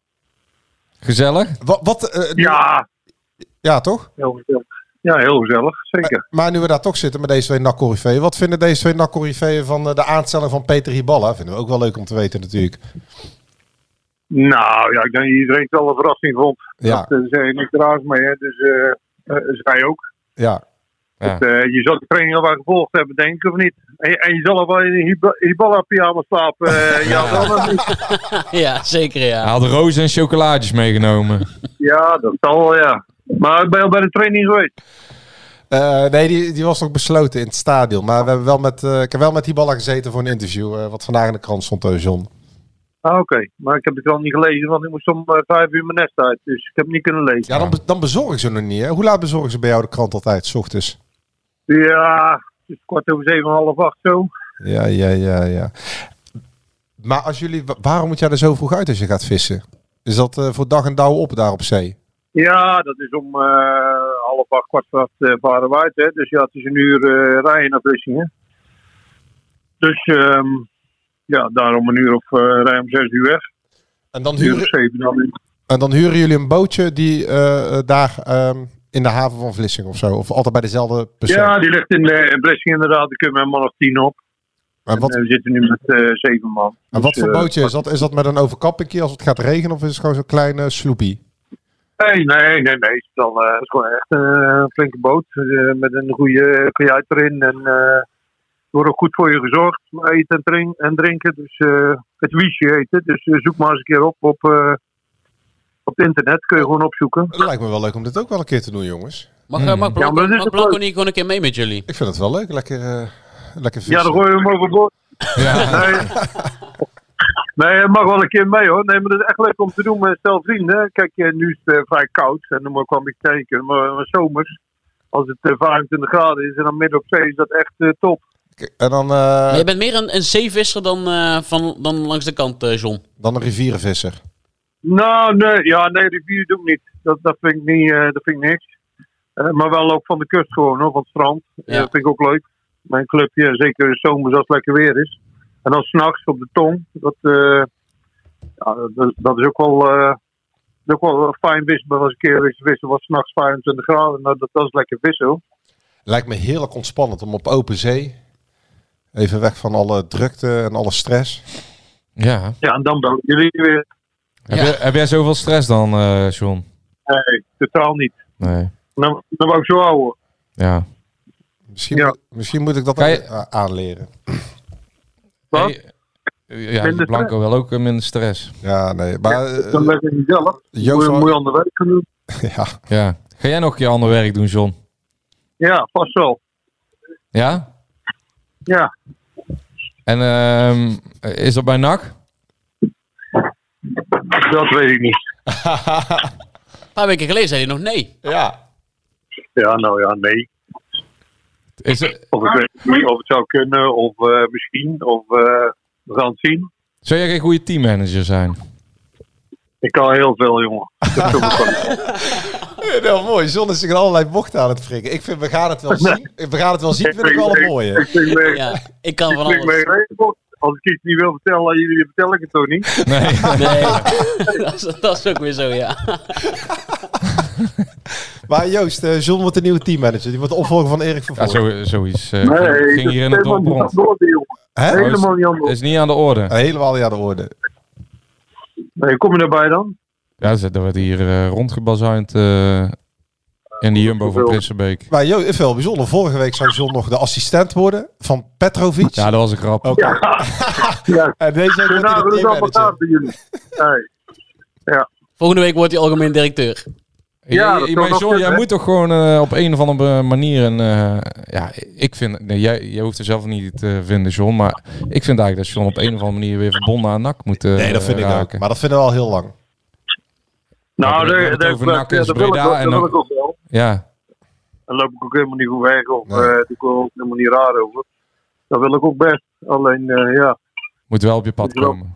S7: Gezellig.
S6: Wat, wat, eh, nu-
S10: ja
S6: ja, toch?
S10: heel gezellig. Ja, heel gezellig, zeker.
S6: Maar nu we daar toch zitten met deze twee nac wat vinden deze twee nac van eh, de aanstelling van Peter Hiballa? Vinden we ook wel leuk om te weten natuurlijk.
S10: Nou ja, ik denk dat iedereen het wel een verrassing vond.
S6: Ja.
S10: Dat eh, zei je niks raars mee, hè. Dus eh, eh, zij ook.
S6: Ja,
S7: Ja.
S10: Eh, je zal de training al wel gevolgd hebben, denk ik, of niet? En, je- en je zal al wel in een Hibala-pyjama slapen. eh, ja, wel of niet?
S1: Ja, zeker
S7: Hij
S1: ja.
S7: had rozen en chocolaatjes meegenomen.
S10: ja, dat zal wel, ja. Maar ik ben al bij de training geweest.
S6: Eh, nee, die, die was nog besloten in het stadion. Maar we hebben wel met, eh, ik heb wel met Hiballa gezeten voor een interview, eh, wat vandaag in de krant stond, eh, John.
S10: Ah, Oké, maar ik heb het wel niet gelezen, want ik moest om eh, vijf uur mijn nest uit. Dus ik heb het niet kunnen lezen.
S6: Ja, dan, be- dan bezorgen ze nog niet, hè? Hoe laat bezorgen ze bij jou de krant altijd, 's ochtends?
S10: Ja, het is kwart over zeven, half acht zo.
S6: Ja, ja, ja, ja. Maar als jullie, wa- waarom moet jij er zo vroeg uit als je gaat vissen? Is dat eh, voor dag en dauw op daar op zee?
S10: Ja, dat is om eh, half acht, kwart voor acht eh, varen we uit. Hè. Dus ja, het is een uur eh, rijden naar Vlissingen. Dus ehm, ja, daarom een uur of eh rijden om zes uur weg.
S6: En dan
S10: Een uur of
S6: huren,
S10: zeven dan.
S6: en dan huren jullie een bootje die eh, eh, daar ehm, in de haven van Vlissingen of zo? Of altijd bij dezelfde persoon?
S10: Ja, die ligt in eh, Vlissingen inderdaad. Daar kunnen we een man of tien op.
S6: en wat,
S10: En we zitten nu met eh, zeven man.
S6: en wat voor
S10: eh,
S6: bootje is dat? Is dat met een overkappingje als het gaat regenen? Of is het gewoon zo'n kleine sloepie?
S10: Nee, nee, nee, nee. Het is, dan, eh, het is gewoon echt eh, een flinke boot. eh, met een goede kajuit erin. En eh, er wordt ook goed voor je gezorgd. Eten en, drink- en drinken. Dus eh, het wiesje heet het. Dus eh, zoek maar eens een keer op op, eh, op het internet. Kun je gewoon opzoeken.
S6: Het lijkt me wel leuk om dit ook wel een keer te doen, jongens.
S1: Mag, eh, mag Blanco,
S10: maar dat is
S1: mag
S10: het
S1: Blanco
S10: leuk.
S1: niet gewoon een keer mee met jullie?
S6: Ik vind het wel leuk. Lekker, eh, lekker vissen.
S10: Ja, dan gooi je hem overboord. Nee. Nee, je mag wel een keer mee hoor. Nee, maar dat is echt leuk om te doen met stel vrienden. Kijk, eh, nu is het eh, vrij koud en dan kwam ik tegen. Maar, maar zomers, als het eh, 25 graden is en dan midden op zee, is dat echt eh, top.
S6: En dan, eh,
S1: Maar je bent meer een, een zeevisser dan, eh, van, dan langs de kant, eh, John.
S6: dan een rivierenvisser.
S10: Nou, nee, ja, nee, rivier doe ik niet. Dat, dat, vind ik niet eh, dat vind ik niks. Eh, maar wel ook van de kust gewoon, hoor, van het strand. Eh,
S1: Ja.
S10: Dat vind ik ook leuk. Mijn clubje, en zeker zomers als het lekker weer is. En dan s'nachts op de tong. Dat, eh, ja, dat, dat is ook wel, eh, dat is ook wel fijn vissen. Maar als een keer is vissen was s'nachts 25 graden. Nou, dat, dat is lekker vissen hoor.
S6: Lijkt me heerlijk ontspannend om op open zee. Even weg van alle drukte en alle stress.
S7: Ja.
S10: Ja, en dan bellen jullie weer.
S7: Heb, jij- heb jij zoveel stress dan, eh, John?
S10: Nee, totaal niet.
S7: Nee.
S10: Dan, dan wou ik zo houden.
S7: Ja.
S6: Misschien, moet- misschien moet ik dat
S7: Kan je-
S6: ook, eh, aanleren.
S7: Ja,
S10: Minder
S7: Blanco wil ook eh, minder stress.
S6: Ja, nee. Maar, eh,
S10: Dan leg ik niet zelf.
S7: Joost
S10: Moet je
S7: al-
S10: moet je ander werk gaan doen.
S6: ja.
S7: ja. Ga jij nog een keer ander werk doen, John?
S10: Ja, vast wel.
S7: Ja?
S10: Ja.
S7: En ehm, is dat bij NAC?
S10: Dat weet ik niet.
S1: Een paar weken geleden zei hij nog nee.
S7: Ja.
S10: Ja, nou ja, nee.
S7: Is het...
S10: Of, ik weet niet of het zou kunnen, of eh, misschien, of eh, we gaan het zien.
S7: Zou jij geen goede teammanager zijn?
S10: Ik kan heel veel, jongen. Dat is ook wel-
S6: Heel mooi. John is zich in allerlei bochten aan het frikken. Ik vind, we gaan het wel zien. We gaan het wel zien, vind ik wel een mooie.
S10: Ik vind me-
S1: Ja, ik kan van
S10: ik vind me
S1: alles.
S10: geregeld. Als ik iets niet wil vertellen aan jullie, dan vertel ik het toch niet?
S7: Nee.
S1: Nee, dat, is, dat is ook weer zo, ja.
S6: Maar Joost, eh, John wordt de nieuwe teammanager. Die wordt de opvolger van Erik van
S7: Ja,
S6: Voorst.
S7: zo, zoiets. eh,
S10: Nee,
S7: ging- ging
S10: dat
S7: hier in het
S10: is helemaal
S7: dorp
S10: niet aan
S7: rond. Nou,
S10: de orde, jongen.
S6: Hè?
S10: Helemaal niet aan de orde.
S7: Is niet aan de orde.
S6: Helemaal niet aan de orde.
S10: Nee, kom je daarbij dan?
S7: Ja, ze- dat werd hier eh, rondgebazuind eh, in die Jumbo van
S10: Hoeveel?
S7: Prinsenbeek.
S6: Maar Joost, is wel bijzonder. Vorige week zou John nog de assistent worden van Petrovic.
S7: Ja, dat was een grap.
S6: Oké.
S10: Ja.
S6: En deze week wordt hij
S10: Nou,
S6: de
S10: dat is allemaal
S6: teammanager.
S10: gaaf bij jullie. Hey.
S1: Volgende week wordt hij algemeen directeur.
S10: Ja,
S7: Ja,
S10: dat zou
S7: maar
S10: nog
S7: John, jij
S10: kunnen.
S7: moet toch gewoon eh, op een of andere manier een... eh, ja, ik vind... Nee, jij, jij hoeft er zelf niet te vinden, John. Maar ik vind eigenlijk dat John op een of andere manier weer verbonden aan NAC moet eh,
S6: Nee, dat vind ik
S7: raken.
S6: ook. Maar dat vinden we al heel lang.
S10: Nou,
S7: we hebben
S10: daar-
S7: het
S10: daar-
S7: over
S10: daar-
S7: NAC en
S10: daar wil ik
S7: Breda
S10: ook- daar
S7: en
S10: wil
S7: ook-
S10: ik ook wel.
S7: Ja,
S10: Daar loop ik ook helemaal niet goed weg. Of
S6: Nee.
S10: eh doe ik ook helemaal niet raar over. Dat wil ik ook best. Alleen, eh, ja,
S7: moet wel op je pad
S10: Moet wel.
S7: komen.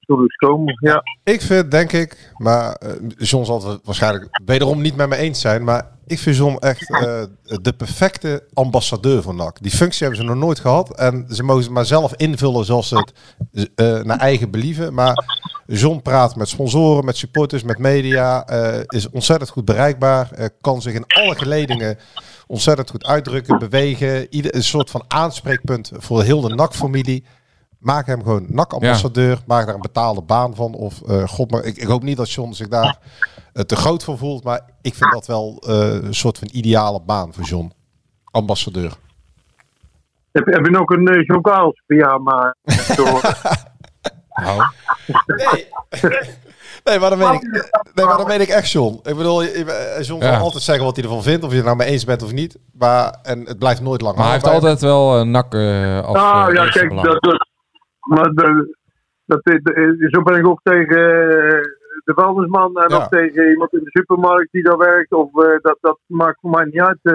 S10: zullen we komen. Ja.
S6: Ik vind, denk ik, maar eh, John zal het waarschijnlijk wederom niet met me eens zijn, maar ik vind John echt eh, de perfecte ambassadeur van NAC. Die functie hebben ze nog nooit gehad en ze mogen het maar zelf invullen zoals ze het eh, naar eigen believen. Maar John praat met sponsoren, met supporters, met media, eh, is ontzettend goed bereikbaar, eh, kan zich in alle geledingen ontzettend goed uitdrukken, bewegen, ieder, een soort van aanspreekpunt voor heel de NAC-familie. Maak hem gewoon NAC-ambassadeur. Maak daar een betaalde baan van. Of eh, god, maar ik, ik hoop niet dat John zich daar eh, te groot voor voelt. Maar ik vind dat wel eh, een soort van ideale baan voor John. Ambassadeur.
S10: Heb, heb je nog een uh, John Carls pyjama? Zo.
S7: Nou,
S6: Nee, maar dan meen ik, nee, maar dan meen ik echt John. Ik bedoel, je- je- John
S7: Ja.
S6: kan altijd zeggen wat hij ervan vindt. Of je het nou mee eens bent of niet. Maar, en het blijft nooit lang.
S7: maar hij heeft
S6: houdbaar.
S7: altijd wel eh, NAC eh, als
S10: nou
S7: eh,
S10: ja,
S7: eerste
S10: kijk,
S7: belang.
S10: dat, dat, maar dat, dat, dat- zo ben ik ook tegen eh, de vuilnisman en
S6: Ja.
S10: ook tegen iemand in de supermarkt die daar werkt. Of, eh, dat, dat maakt voor mij niet uit eh,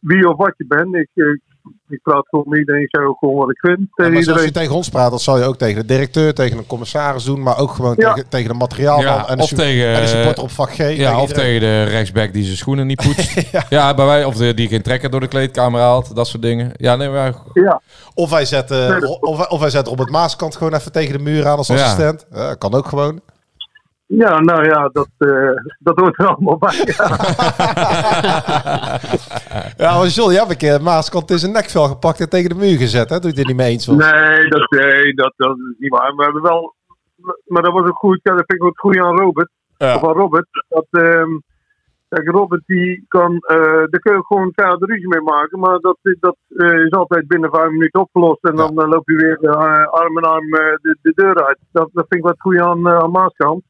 S10: wie of wat je bent. Ik, eh, ik praat voor iedereen, ik zeg ook gewoon wat ik vind
S6: Ja,
S10: tegen
S6: maar zoals
S10: iedereen.
S6: je tegen ons praat, dat zal je ook tegen de directeur, tegen een commissaris doen. Maar ook gewoon
S10: Ja.
S6: tegen, tegen de materiaalman
S7: Ja,
S6: en, de
S7: of
S6: su-
S7: tegen,
S6: en de
S7: eh,
S6: supporter op vak G.
S7: Ja, of
S6: iedereen.
S7: tegen de rechtsback die zijn schoenen niet poetst. ja. bij wij, of de, die geen trekker door de kleedkamer haalt. Dat soort dingen. Ja, nee, maar...
S10: Ja.
S6: Of hij zet, eh,
S10: Nee, dat-
S6: of, of hij zet Robert Maaskant gewoon even tegen de muur aan als
S7: Ja.
S6: assistent. Ja, kan ook gewoon.
S10: ja, nou ja, dat, eh, dat hoort er allemaal bij.
S6: Ja, maar John, jij hebt een keer Maaskant in zijn nekvel gepakt en tegen de muur gezet. Hè? Doe je het niet mee eens was.
S10: Nee, dat, nee dat, dat is niet waar. We hebben wel, maar dat was ook goed. Ja, dat vind ik ook het goede aan Robert.
S6: Ja.
S10: Of aan Robert. Dat, ehm, kijk, Robert die kan, eh daar kun je ook gewoon keiharde ruzie mee maken. Maar dat, dat eh, is altijd binnen vijf minuten opgelost. En dan eh, loop je weer eh, arm in arm eh, de, de deur uit. Dat, dat vind ik wat goed aan, eh, aan Maaskant.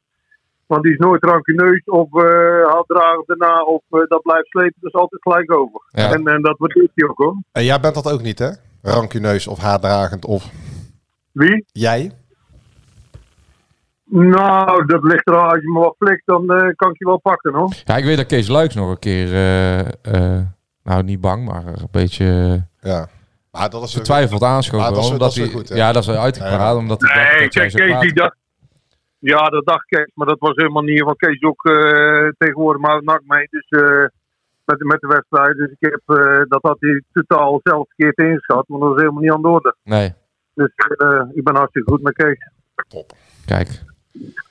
S10: Want die is nooit rancuneus of eh haatdrager daarna of eh, dat blijft slepen. Dat is altijd gelijk over.
S7: Ja.
S10: En, en dat waardeert hij ook hoor.
S6: En jij bent dat ook niet, hè? Rancuneus of haatdragend of
S10: Wie?
S6: jij.
S10: Nou, dat ligt er Als je me wat flikt, dan eh, kan ik je wel pakken hoor.
S7: Ja, ik weet dat Kees Luiks nog een keer... eh, eh, nou, niet bang, maar een beetje eh,
S6: Ja. Maar dat is weer-
S7: betwijfeld aanschoven.
S6: Maar Ah, dat is-
S7: omdat
S6: dat is
S7: hij,
S6: weer goed, hè?
S7: ja, dat is wel uitgepraat.
S6: Ja, ja.
S7: Omdat hij dacht
S10: Nee,
S7: dat jij
S10: kijk,
S7: zo
S10: Kees die
S7: praat.
S10: dacht. Ja, dat dacht Kees, maar dat was helemaal niet. Want Kees is ook eh, tegenwoordig maar NAC mee. Dus eh, met, met de wedstrijd. Dus ik heb, eh, dat had hij totaal zelf verkeerd ingeschat. Want dat was helemaal niet aan de orde.
S7: Nee,
S10: Dus eh, ik ben hartstikke goed met Kees.
S7: kijk.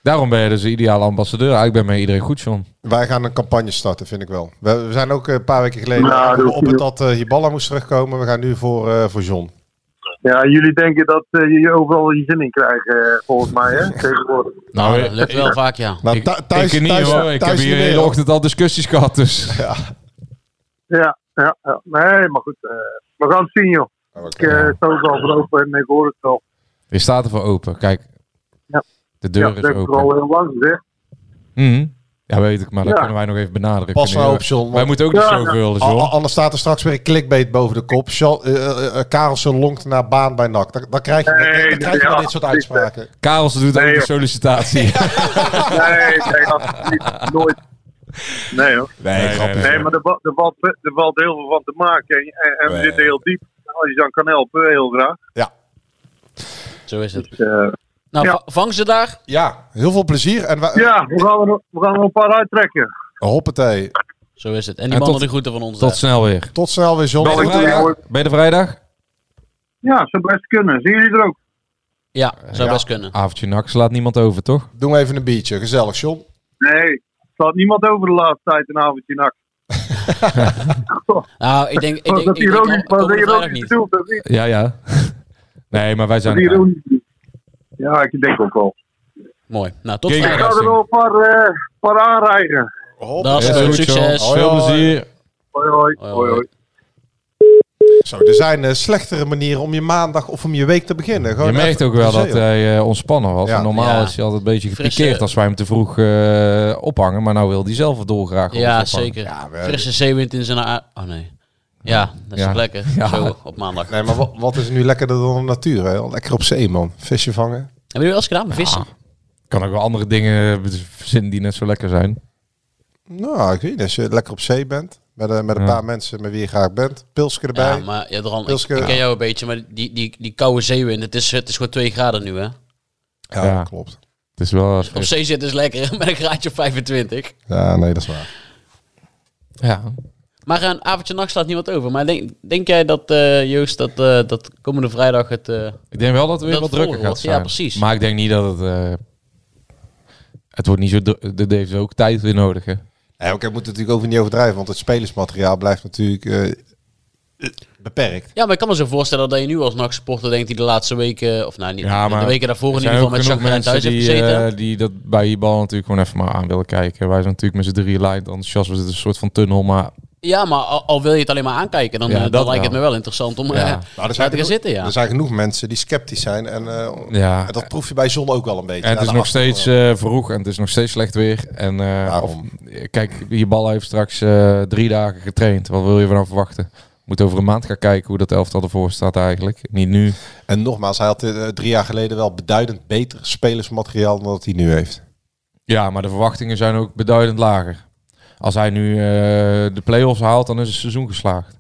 S7: Daarom ben je dus de ideale ambassadeur. Eigenlijk ben je met iedereen goed, John.
S6: Wij gaan een campagne starten, vind ik wel. We, we zijn ook eh, een paar weken geleden
S10: Nou, dat hoeft
S6: op het
S10: niet.
S6: dat eh Hiballa moest terugkomen. We gaan nu voor, eh, voor John.
S10: Ja, jullie denken dat eh, je overal je zin in krijgt, eh, volgens mij, hè? Tegenwoordig.
S1: Nou, dat lukt wel vaak, ja.
S6: Nou,
S7: Ik-
S6: thu- thuis,
S7: ik niet,
S6: thuis,
S7: hoor. Ik
S6: thuis
S7: heb
S6: niet
S7: hier de
S6: meer,
S7: hele
S6: hoor.
S7: ochtend al discussies gehad, dus...
S10: Ja, Ja, ja. nee, maar goed. eh, we gaan het zien, joh. ik eh, sta ook al voor open en ik hoor het wel.
S7: Je staat ervoor open. Kijk,
S10: Ja.
S7: de deur
S10: ja,
S7: is
S10: dat heb ik
S7: open.
S10: al heel lang gezegd.
S7: Mhm. Ja, weet ik, maar dat
S10: Ja.
S7: kunnen wij nog even benadrukken.
S6: Pas nou
S7: Nee,
S6: op, John. Ah.
S7: Wij moeten ook niet
S6: zo
S7: zoveel, dus John.
S6: Anders staat er straks weer een clickbait boven de kop. John, eh, eh, eh, Karelsen lonkt naar baan bij NAC. Dan, dan krijg je, dan,
S10: Nee,
S6: dan krijg je
S10: ja,
S6: wel dit soort uitspraken.
S7: Karels doet
S10: Nee,
S7: ook een
S10: joh.
S7: sollicitatie.
S10: Nee, nee, absoluut. Nooit. Nee, hoor.
S7: Nee, grapje.
S10: Nee, maar er, wa- er, valt, er valt heel veel van te maken. En, en- en we
S6: Nee.
S10: zitten heel diep. Als je dan kan helpen, heel graag.
S1: Zo is het.
S10: Nou, ja.
S1: Vang ze daar.
S6: Ja, heel veel plezier. En wij,
S10: ja, we gaan, er, nog- we gaan er een paar uittrekken.
S6: Hoppatee.
S1: Zo is het. En die
S7: En
S1: mannen
S7: tot-
S1: de groeten van ons.
S7: Tot
S1: hè.
S7: snel weer.
S6: Tot snel weer, John.
S7: Ben je er
S10: Hoi,
S7: vrijdag?
S10: hoi.
S7: Ben je er vrijdag?
S10: Ja, zou best kunnen. Zien jullie er ook?
S1: Ja, zou
S7: ja.
S1: best kunnen.
S7: Avondje nak, slaat niemand over, toch?
S6: Doen we even een biertje. Gezellig, John.
S10: Nee, er staat niemand over de laatste tijd een avondje nak.
S1: Nou, ik denk... Ik denk
S10: Dat
S1: ik
S10: is
S1: denk
S10: ironisch,
S1: wel-
S10: dat is
S1: komende vrijdag
S10: ironisch
S1: niet.
S10: bedoeld. Dat is niet-
S7: Ja, ja. Nee, maar wij
S10: dat
S7: zijn
S10: is
S7: er.
S10: ironisch. Ja, ik denk ook wel.
S1: Mooi. Nou, tot
S7: Gegen-
S10: Ik
S1: vrijdag.
S10: ga er wel een paar, eh, paar aanrijden.
S1: Dat is
S7: Heel
S1: goed.
S7: goed, John.
S1: Succes.
S6: Hoi,
S7: Veel
S6: hoi.
S7: plezier.
S10: Hoi, hoi.
S1: Hoi,
S10: hoi, hoi.
S6: Zo, er zijn eh, slechtere manieren om je maandag of om je week te beginnen. Gewoon
S7: Je merkt
S6: even
S7: ook wel dat
S6: gezellig.
S7: hij eh, ontspannen was.
S6: Ja.
S7: En Normaal
S1: Ja.
S7: is hij altijd een beetje
S1: Frisse-
S7: gepikeerd als wij hem te vroeg eh, ophangen. Maar nou wil hij zelf het dolgraag op
S1: Ja,
S7: ons ophangen.
S1: zeker.
S6: we-
S1: Frisse zeewind in zijn... a- Oh, nee. Ja, dat is
S7: Ja.
S1: toch lekker.
S7: Ja.
S1: Zo, op maandag.
S6: Nee, maar wat, wat is nu lekkerder dan de natuur? Hè? Lekker op zee, man. Visje vangen.
S1: Hebben jullie wel eens gedaan? Vissen?
S7: Kan ook wel andere dingen verzinnen die net zo lekker zijn.
S6: Nou, ik weet niet. Als je lekker op zee bent, met, eh, met een
S7: Ja.
S6: paar mensen met wie je graag bent. Pilsje erbij.
S1: Ja, maar ja, Dran, ik,
S6: Pilske-
S1: ik ken jou een beetje, maar die, die, die koude zeewind, het is, het is gewoon 2 graden nu, hè?
S6: Ja,
S7: Ja.
S6: klopt.
S7: Het is wel...
S1: Op zee zitten is lekker, met een graadje op 25.
S6: Ja, nee, dat is waar.
S7: Ja.
S1: Maar een avondje nacht slaat niemand over. Maar denk, denk jij dat, eh, Joost, dat, eh, dat komende vrijdag het... eh,
S7: Ik denk wel dat het
S1: Dat
S7: weer wat
S1: het
S7: drukker
S1: vol
S7: gaat
S1: wordt, ja,
S7: zijn.
S1: precies.
S7: Maar ik denk niet dat het... eh, het wordt niet zo... dru- Dat heeft ook tijd weer nodig, hè.
S6: Ja, oké, we moeten natuurlijk ook niet overdrijven, want het spelersmateriaal blijft natuurlijk eh, eh, beperkt.
S1: Ja, maar ik kan me zo voorstellen dat je nu als NAC-supporter denkt die de laatste weken... Of nou, niet,
S7: Ja, maar
S1: de weken daarvoor in
S7: Er
S1: ieder
S7: zijn
S1: geval
S7: ook
S1: met
S7: genoeg
S1: Chagrin
S7: mensen
S1: thuis heeft
S7: die,
S1: gezeten.
S7: eh, die dat bij die bal natuurlijk gewoon even maar aan willen kijken. Wij zijn natuurlijk met z'n drie light enthousiast. We zitten in een soort van tunnel, maar
S1: ja, maar al, al wil je het alleen maar aankijken, dan,
S7: Ja,
S1: eh, dan
S7: dat
S1: lijkt het me
S7: wel.
S1: wel interessant om
S7: Ja.
S1: eh,
S6: Nou,
S1: daar te gaan zitten, ja.
S6: Er zijn genoeg mensen die sceptisch zijn en eh,
S7: Ja.
S6: dat proef je bij John ook wel een beetje.
S7: en het
S6: Ja,
S7: is
S6: de
S7: nog
S6: achtergrond.
S7: steeds eh, vroeg en het is nog steeds slecht weer. En, eh, of,
S6: Daarom.
S7: kijk, die bal heeft straks eh, drie dagen getraind. Wat wil je vanaf verwachten? Moet over een maand gaan kijken hoe dat elftal ervoor staat eigenlijk. Niet nu.
S6: En nogmaals, hij had eh, drie jaar geleden wel beduidend beter spelersmateriaal dan dat hij nu heeft.
S7: Ja, maar de verwachtingen zijn ook beduidend lager. Als hij nu eh, de play-offs haalt, dan is het seizoen geslaagd.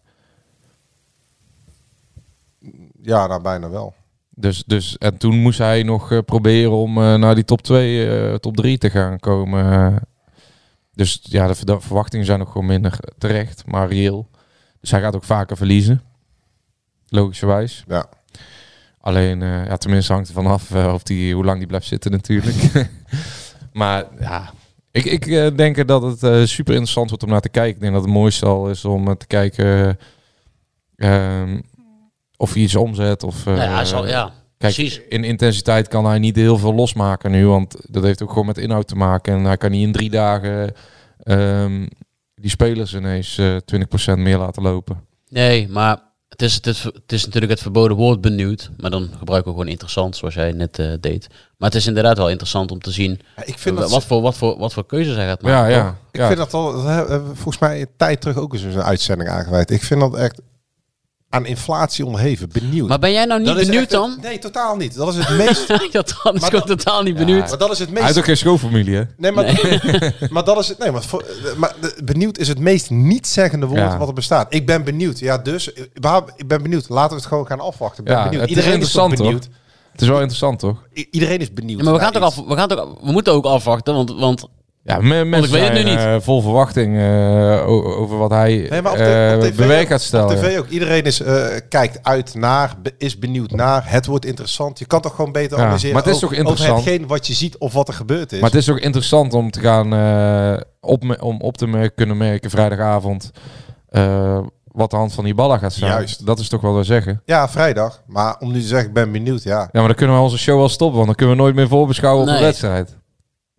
S6: Ja, nou bijna wel.
S7: Dus, dus, en toen moest hij nog eh, proberen om eh, naar die top 2, eh, top 3 te gaan komen. eh. dus ja, de verda- verwachtingen zijn nog gewoon minder eh, terecht, maar reëel. Dus hij gaat ook vaker verliezen. Logischerwijs.
S6: Ja.
S7: Alleen, eh, ja, tenminste hangt er vanaf eh, of die, hoe lang die blijft zitten natuurlijk. maar ja, ik, ik eh, denk dat het eh, super interessant wordt om naar te kijken. Ik denk dat het mooiste al is om eh, te kijken eh, ehm, of hij iets omzet. Of,
S1: Nou ja,
S7: eh,
S1: zal- ja.
S7: Kijk,
S1: Precies.
S7: in intensiteit kan hij niet heel veel losmaken nu, want dat heeft ook gewoon met inhoud te maken. En hij kan niet in drie dagen ehm, die spelers ineens eh 20% meer laten lopen.
S1: Nee, maar het is, het, is, het is natuurlijk het verboden woord benieuwd. Maar dan gebruiken we gewoon interessant, zoals jij net eh, deed. Maar het is inderdaad wel interessant om te zien
S6: Ja, ik vind
S1: wa-
S6: dat,
S1: wat, voor, wat, voor, wat voor keuzes hij gaat maken.
S7: ja,
S1: toch?
S7: ja.
S6: ik
S7: ja.
S6: vind dat al, dat hebben we volgens mij een tijd terug ook eens een uitzending aangeweid. Ik vind dat echt aan inflatie onderheven, benieuwd.
S1: Maar ben jij nou niet
S6: Dat is
S1: benieuwd
S6: echt het-
S1: dan?
S6: Nee, totaal niet. Dat is het meest...
S1: dat dan is
S6: Maar
S1: gewoon
S6: dat-
S1: totaal niet benieuwd.
S6: maar dat is het
S7: Hij heeft
S6: meest
S7: ook geen schoonfamilie, hè?
S6: Nee, maar, maar dat is het. Nee, maar, voor- maar de- benieuwd is het meest niet-zeggende woord
S7: Ja.
S6: wat er bestaat. Ik ben benieuwd. Ja, dus eh, waar, ik ben benieuwd. Laten we het gewoon gaan afwachten. Ik ben
S7: Ja,
S6: benieuwd.
S7: het is
S6: Iedereen
S7: interessant,
S6: is toch benieuwd.
S7: Het is wel interessant, toch?
S6: I- Iedereen is benieuwd.
S1: Ja, maar we gaan,
S6: naar
S1: toch
S6: iets.
S1: af, we, gaan toch, af- we moeten ook afwachten, want, want
S7: Ja, me- mensen
S1: weet het
S7: zijn,
S1: nu niet.
S7: eh, vol verwachting eh, o- over wat hij
S6: Nee, maar op, de,
S7: eh,
S6: op tv,
S7: bewerkt gaat
S6: ook, op
S7: stellen.
S6: tv ook. Iedereen is, eh, kijkt uit naar, be- is benieuwd naar. Het wordt interessant. Je kan toch gewoon beter
S7: Ja,
S6: analyseren
S7: maar het is
S6: over-
S7: toch interessant?
S6: over hetgeen wat je ziet of wat er gebeurd is.
S7: Maar het is ook interessant om te gaan eh, opme- om op te mer- kunnen merken vrijdagavond eh, wat de hand van die ballen gaat zijn.
S6: Juist.
S7: Dat is toch wel we zeggen.
S6: Ja, vrijdag. Maar om nu te zeggen, ik ben benieuwd. Ja,
S7: Ja, maar dan kunnen we onze show al stoppen, want dan kunnen we nooit meer voorbeschouwen op
S1: Nee.
S7: een wedstrijd.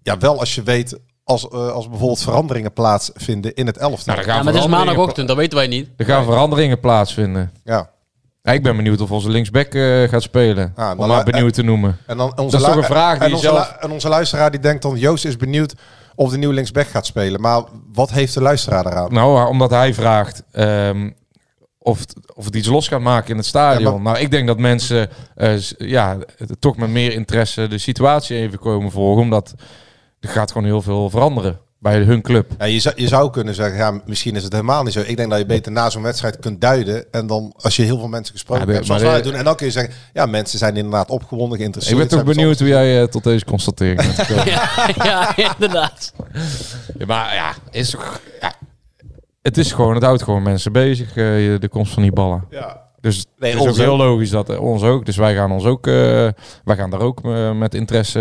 S6: ja wel als je weet als, eh, als bijvoorbeeld veranderingen plaatsvinden in het elftal.
S7: gaan Ja, maar het is veranderingen maandagochtend,
S1: dat weten wij niet.
S7: Er gaan veranderingen plaatsvinden.
S6: Ja.
S7: ik ben benieuwd of onze linksback eh, gaat spelen.
S6: dan
S7: om maar
S6: la-
S7: benieuwd te noemen.
S6: En dan
S7: dat
S6: onze
S7: is toch
S6: lu-
S7: een vraag die
S6: en
S7: je
S6: onze
S7: zelf...
S6: lu- en onze luisteraar die denkt dan, Joost is benieuwd of de nieuwe linksback gaat spelen. Maar wat heeft de luisteraar eraan?
S7: Nou, omdat hij vraagt ehm, of, het, of het iets los gaat maken in het stadion. Nou, ik denk dat mensen eh, s- ja, het- toch met meer interesse de situatie even komen volgen. Omdat er gaat gewoon heel veel veranderen bij hun club.
S6: Ja, je, zou, je zou kunnen zeggen, ja, misschien is het helemaal niet zo. Ik denk dat je beter na zo'n wedstrijd kunt duiden. En dan als je heel veel mensen gesproken
S7: Ja, maar-
S6: hebt, zoals
S7: maar-
S6: wij doen. En dan kun je zeggen, ja, mensen zijn inderdaad opgewonden,
S7: ik
S6: geïnteresseerd.
S7: ben toch
S6: Ze hebben
S7: benieuwd hoe jij eh, tot deze constatering bent gekomen.
S1: ja, inderdaad.
S7: Ja, maar ja, is toch- ja, het is gewoon, het houdt gewoon mensen bezig, eh, de komst van die ballen.
S6: Ja.
S7: Dus het
S6: Nee,
S7: is
S6: ons
S7: ook heel
S6: ook.
S7: logisch dat eh, ons ook. Dus wij gaan ons ook, eh, wij gaan daar ook eh, met interesse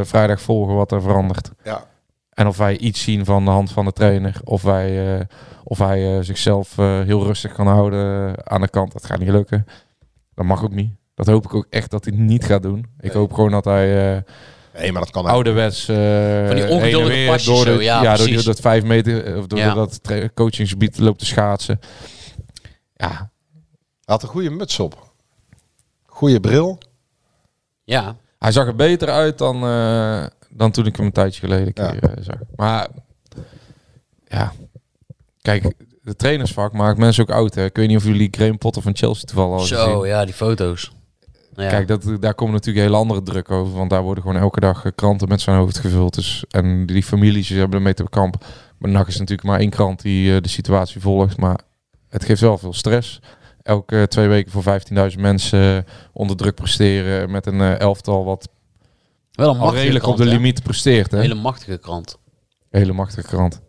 S7: eh, vrijdag volgen wat er verandert.
S6: Ja.
S7: En of wij iets zien van de hand van de trainer, of wij, eh, of hij eh, zichzelf eh, heel rustig kan houden eh, aan de kant. Dat gaat niet lukken. Dat mag ook niet. Dat hoop ik ook echt dat hij niet gaat doen. Ik hoop gewoon dat hij. eh
S6: nee, maar dat kan
S7: ouderwets.
S1: Van
S7: eh,
S1: die
S7: heen en
S1: ongeduldige
S7: weer
S1: pasjes
S7: door de-
S1: zo, ja,
S7: door die-
S1: precies.
S7: dat vijf meter eh, of door
S1: Ja.
S7: dat tra- coachingsgebied loopt te schaatsen. Ja.
S6: Hij had een goede muts op. Goede bril.
S1: Ja.
S7: Hij zag er beter uit dan, eh, dan toen ik hem een tijdje geleden een keer, eh, zag. Maar ja, kijk, de trainersvak maakt mensen ook oud. Hè. Ik weet niet of jullie Graham Potter van Chelsea toevallig
S1: Oh,
S7: al gezien.
S1: Zo, ja, die foto's. Nou ja.
S7: Kijk, dat, daar komt natuurlijk hele andere druk over. Want daar worden gewoon elke dag eh, kranten met zijn hoofd gevuld. Dus, en die families die hebben ermee te kamp. Maar NAC is natuurlijk maar één krant die eh, de situatie volgt. Maar het geeft wel veel stress. Elke eh, twee weken voor 15.000 mensen eh, onder druk presteren. Met een eh, elftal wat
S1: Wel een
S7: al
S1: machtige
S7: redelijk op
S1: krant,
S7: de
S1: hè?
S7: limiet presteert. Hè?
S1: Een hele machtige krant.
S7: Hele machtige krant.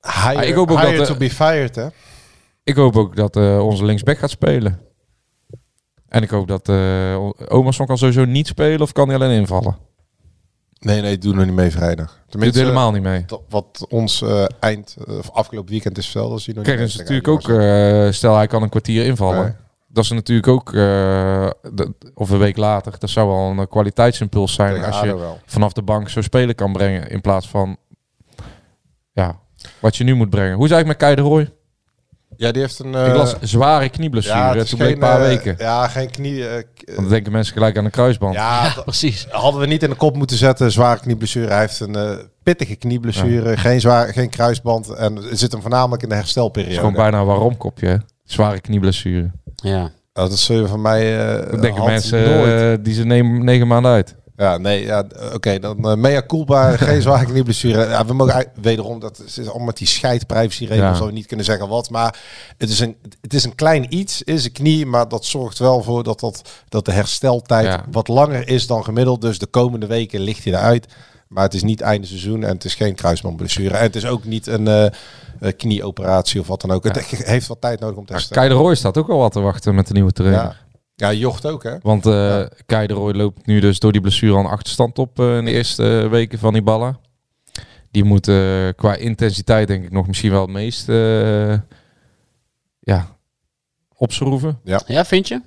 S6: Hire,
S7: Ah, ik hoop ook
S6: hire
S7: dat, eh,
S6: to be fired, hè?
S7: Ik hoop ook dat eh, onze linksback gaat spelen. En ik hoop dat eh Omerson kan sowieso niet spelen of kan hij alleen invallen.
S6: Nee, nee, doen we niet mee vrijdag.
S7: Doet helemaal niet mee.
S6: dat- Wat ons eh, eind, eh, of afgelopen weekend is wel, dat zien we
S7: Kijk, dat
S6: niet
S7: is
S6: mee.
S7: natuurlijk ook, eh, stel hij kan een kwartier invallen.
S6: Nee.
S7: Dat is natuurlijk ook, eh, dat- of een week later, dat zou wel een eh, kwaliteitsimpuls zijn
S6: Tegen
S7: als je
S6: ADO wel.
S7: vanaf de bank zo spelen kan brengen in plaats van ja, wat je nu moet brengen. Hoe is het eigenlijk met Kei de Roy?
S6: Ja, die heeft een...
S7: Ik
S6: eh,
S7: las zware knieblessure,
S6: ja, het
S7: hè,
S6: is
S7: toen bleek een
S6: geen,
S7: paar
S6: eh,
S7: weken.
S6: Ja, geen knie... eh, k- eh,
S7: Want dan denken mensen gelijk aan een kruisband.
S6: ja, dat-
S1: Precies.
S6: hadden we niet in de kop moeten zetten. Zware knieblessure. Hij heeft een eh, pittige knieblessure. Geen, zwaar, geen kruisband. En het zit hem voornamelijk in de
S7: Het
S6: herstelperiode.
S7: is gewoon bijna een waarom kopje. hè. Zware knieblessure.
S1: Ja.
S6: Ja, dat zul je van mij... eh
S7: Dat denken
S6: Hans,
S7: mensen
S6: nooit.
S7: eh, die ze nemen, negen maanden uit.
S6: Ja, nee, ja, d- oké, dan eh, mea culpa, geen zware knieblessure. Ja, we mogen eigenlijk- wederom, dat is is allemaal met die scheidprivacyregels,
S7: Ja.
S6: zo niet kunnen zeggen wat. Maar het is een, het is een klein iets, is een knie, maar dat zorgt wel voor dat, dat, dat de hersteltijd
S7: Ja.
S6: wat langer is dan gemiddeld. Dus de komende weken ligt hij eruit. Maar het is niet einde seizoen en het is geen kruisbandblessure. En het is ook niet een eh, eh, knieoperatie of wat dan ook. Het he- heeft wat tijd nodig om te herstellen.
S7: Kei de Roy staat ook al wat te wachten met de nieuwe trainer.
S6: Ja, ja jocht ook, hè?
S7: Want eh Kei de Roy loopt nu dus door die blessure al een achterstand op eh, in de eerste eh, weken van die ballen. Die moet eh, qua intensiteit denk ik nog misschien wel het meest eh, ja, opschroeven.
S1: Ja, vind je?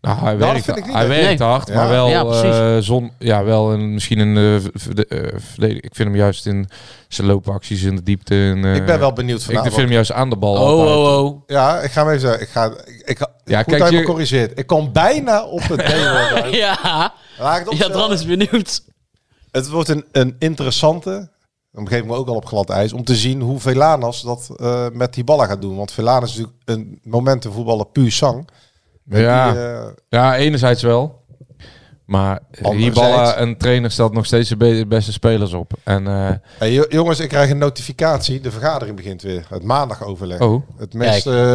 S7: Nou, hij
S6: Nou, dat
S7: werkt,
S6: vind ik niet,
S7: hij
S6: hè?
S7: werkt
S1: Nee.
S7: hard,
S6: Ja.
S7: maar wel,
S1: Ja, precies.
S7: eh, zon, ja, wel in, misschien een eh, v- verde- eh, verdediging. Ik vind hem juist in zijn loopacties in de diepte. En, eh,
S6: Ik ben wel benieuwd
S7: Ik
S6: vanavond.
S7: vind hem juist aan de bal.
S1: Oh,
S7: altijd.
S1: oh, oh.
S6: Ja, ik ga hem even zeggen. Ik ga, ik, ik,
S7: Ja,
S6: ja,
S7: kijk,
S6: goed dat je
S7: je-
S6: me corrigeert. Ik kwam bijna op het D-woord. uit.
S1: Ja.
S6: Laat
S1: Ja,
S6: ik het opstellen.
S1: Dran is benieuwd.
S6: Het wordt een, een interessante, dan geef ik me ook al op glad ijs, om te zien hoe Velanas dat eh, met die ballen gaat doen. Want Velanas is natuurlijk een momentenvoetballer puur zang.
S7: Ja.
S6: Die, eh,
S7: Ja, enerzijds wel. Maar hier
S6: Anderzijds-
S7: ballen een trainer stelt nog steeds de be- beste spelers op. En eh,
S6: hey, jo- jongens, ik krijg een notificatie. De vergadering begint weer. Het maandagoverleg.
S7: oh,
S6: Het, meest, eh,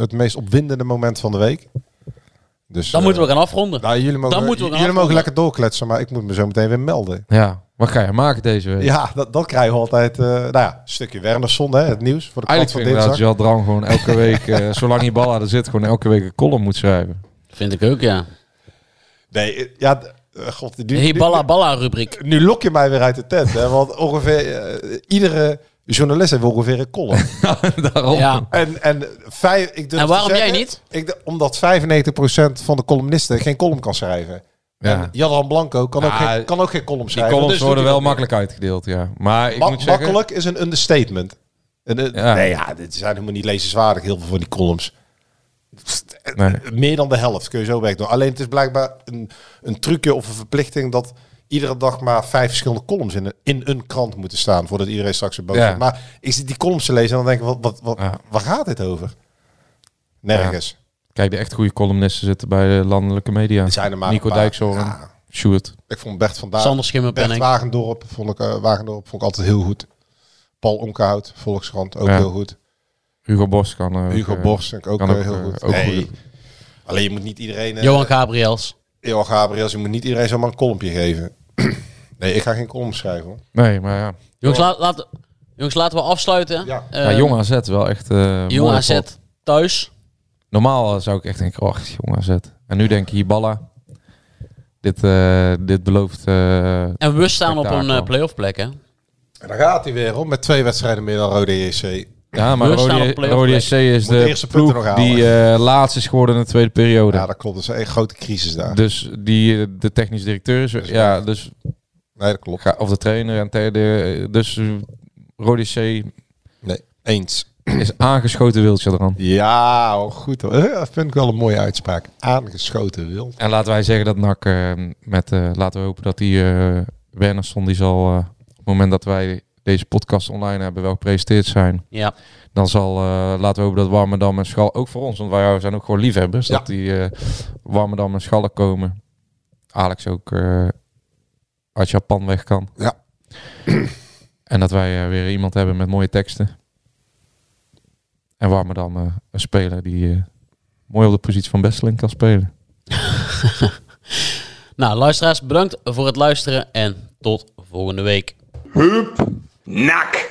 S6: het meest opwindende moment van de week. Dus,
S1: Dan
S6: eh,
S1: moeten we gaan afronden.
S6: nou, jullie mogen,
S1: dan moeten we gaan
S6: jullie mogen
S1: afronden.
S6: lekker doorkletsen, maar ik moet me zo meteen weer melden.
S7: ja. Wat ga je maken deze week?
S6: Ja, dat, dat krijgen we altijd. eh, nou ja, een stukje Wernersson, hè, het nieuws voor de krant
S7: Eigenlijk
S6: van
S7: vind ik dat Jal
S6: dinsdag.
S7: Drang gewoon elke week, eh, zolang die bal er zit, gewoon elke week een column moet schrijven.
S1: Vind ik ook, ja.
S6: Nee, eh, ja, d- eh, god, nu,
S1: Hey,
S6: nu-
S1: balla balla rubriek.
S6: nu lok je mij weer uit de tent. Hè, want ongeveer eh, iedere journalist heeft ongeveer een column.
S7: Daarom.
S1: Ja.
S6: en, en, vijf, ik durf
S1: En waarom
S6: te zeggen,
S1: jij niet?
S6: Ik, d- omdat 95% van de columnisten geen column kan schrijven.
S7: Ja.
S6: En Jadran Blanco kan, ook
S7: Ja,
S6: geen, kan ook geen column
S7: Die
S6: schrijven.
S7: columns
S6: dus doet
S7: worden
S6: hij
S7: wel
S6: dat
S7: makkelijk uitgedeeld, ja. Maar ik
S6: Ma-
S7: moet zeggen...
S6: makkelijk is een understatement. En, eh,
S7: Ja.
S6: Nee, ja, dit zijn helemaal niet lezenswaardig, heel veel van die columns. Pst, eh,
S7: Nee.
S6: Meer dan de helft kun je zo weg doen. Alleen het is blijkbaar een, een trucje of een verplichting dat iedere dag maar vijf verschillende columns in een, in een krant moeten staan. Voordat iedereen straks een boodschap.
S7: Ja.
S6: Maar ik zit die columns te lezen en dan denk ik, wat, wat, wat, waar gaat dit over? Nergens.
S7: Ja. Kijk, de echt goede columnisten zitten bij de landelijke media.
S6: zijn er maar
S7: Nico
S6: een paar.
S7: Dijkshoorn, Sjoerd.
S6: Ik vond Bert vandaag.
S1: Sander Schimmelpenninck.
S6: Bert Wagendorp vond ik, eh, Wagendorp vond ik altijd heel goed. Paul Onkehout, Volkskrant, ook
S7: Ja.
S6: heel goed.
S7: Hugo Bos kan eh,
S6: Hugo
S7: eh,
S6: Borst vind ik ook,
S7: kan
S6: eh, heel
S7: eh,
S6: goed.
S7: ook
S6: Nee.
S7: goed.
S6: Alleen je moet niet iedereen... eh,
S1: Johan Gabriels.
S6: Johan Gabriels, je moet niet iedereen zomaar een kolompje geven. nee, ik ga geen kolom schrijven hoor.
S7: Nee, maar ja.
S1: Jongens, laat, laat- jongens laten we afsluiten.
S6: Ja.
S1: Eh,
S7: ja jong AZ wel echt... eh
S1: Jong
S7: mooie
S1: AZ
S7: pot.
S1: thuis.
S7: Normaal zou ik echt denken, oh, jong AZ. En nu denk ik, Hiballa. Dit, eh, dit belooft... eh,
S1: En we staan op een
S7: spektakel.
S1: eh, playoff plek, hè?
S6: En dan gaat hij weer om met twee wedstrijden meer dan Rode JC.
S7: Ja, maar
S1: We staan
S7: Rode,
S1: op playoff
S7: Rode
S1: plek.
S7: SC is
S6: Moet de
S7: de,
S6: eerste punten nog
S7: ploeg
S6: halen.
S7: die eh, laatst is geworden in de tweede periode.
S6: Ja, dat klopt. Dat is een echt grote crisis daar.
S7: Dus die, eh, de technisch directeur is... Ja, dus,
S6: Nee, dat klopt.
S7: ga- of de trainer en te- de, Dus eh, Rode SC
S6: Nee, eens.
S7: is aangeschoten wildje eraan.
S6: Ja, oh, goed hoor. Eh, Dat vind ik wel een mooie uitspraak. Aangeschoten wild.
S7: En laten wij zeggen dat NAC eh, met... eh, laten we hopen dat die eh Wernersson die zal... eh, op het moment dat wij deze podcast online hebben wel gepresenteerd zijn...
S1: Ja.
S7: Dan zal, eh, laten we hopen dat Warmerdam en Schal, ook voor ons, want wij zijn ook gewoon liefhebbers, dat die eh Warmerdam en Schallen komen. Alex ook eh, uit Japan weg kan.
S6: Ja.
S7: En dat wij eh, weer iemand hebben met mooie teksten. En Warmerdam eh, een speler die eh, mooi op de positie van Besseling kan spelen.
S1: Nou, luisteraars, bedankt voor het luisteren en tot volgende week.
S11: Nak!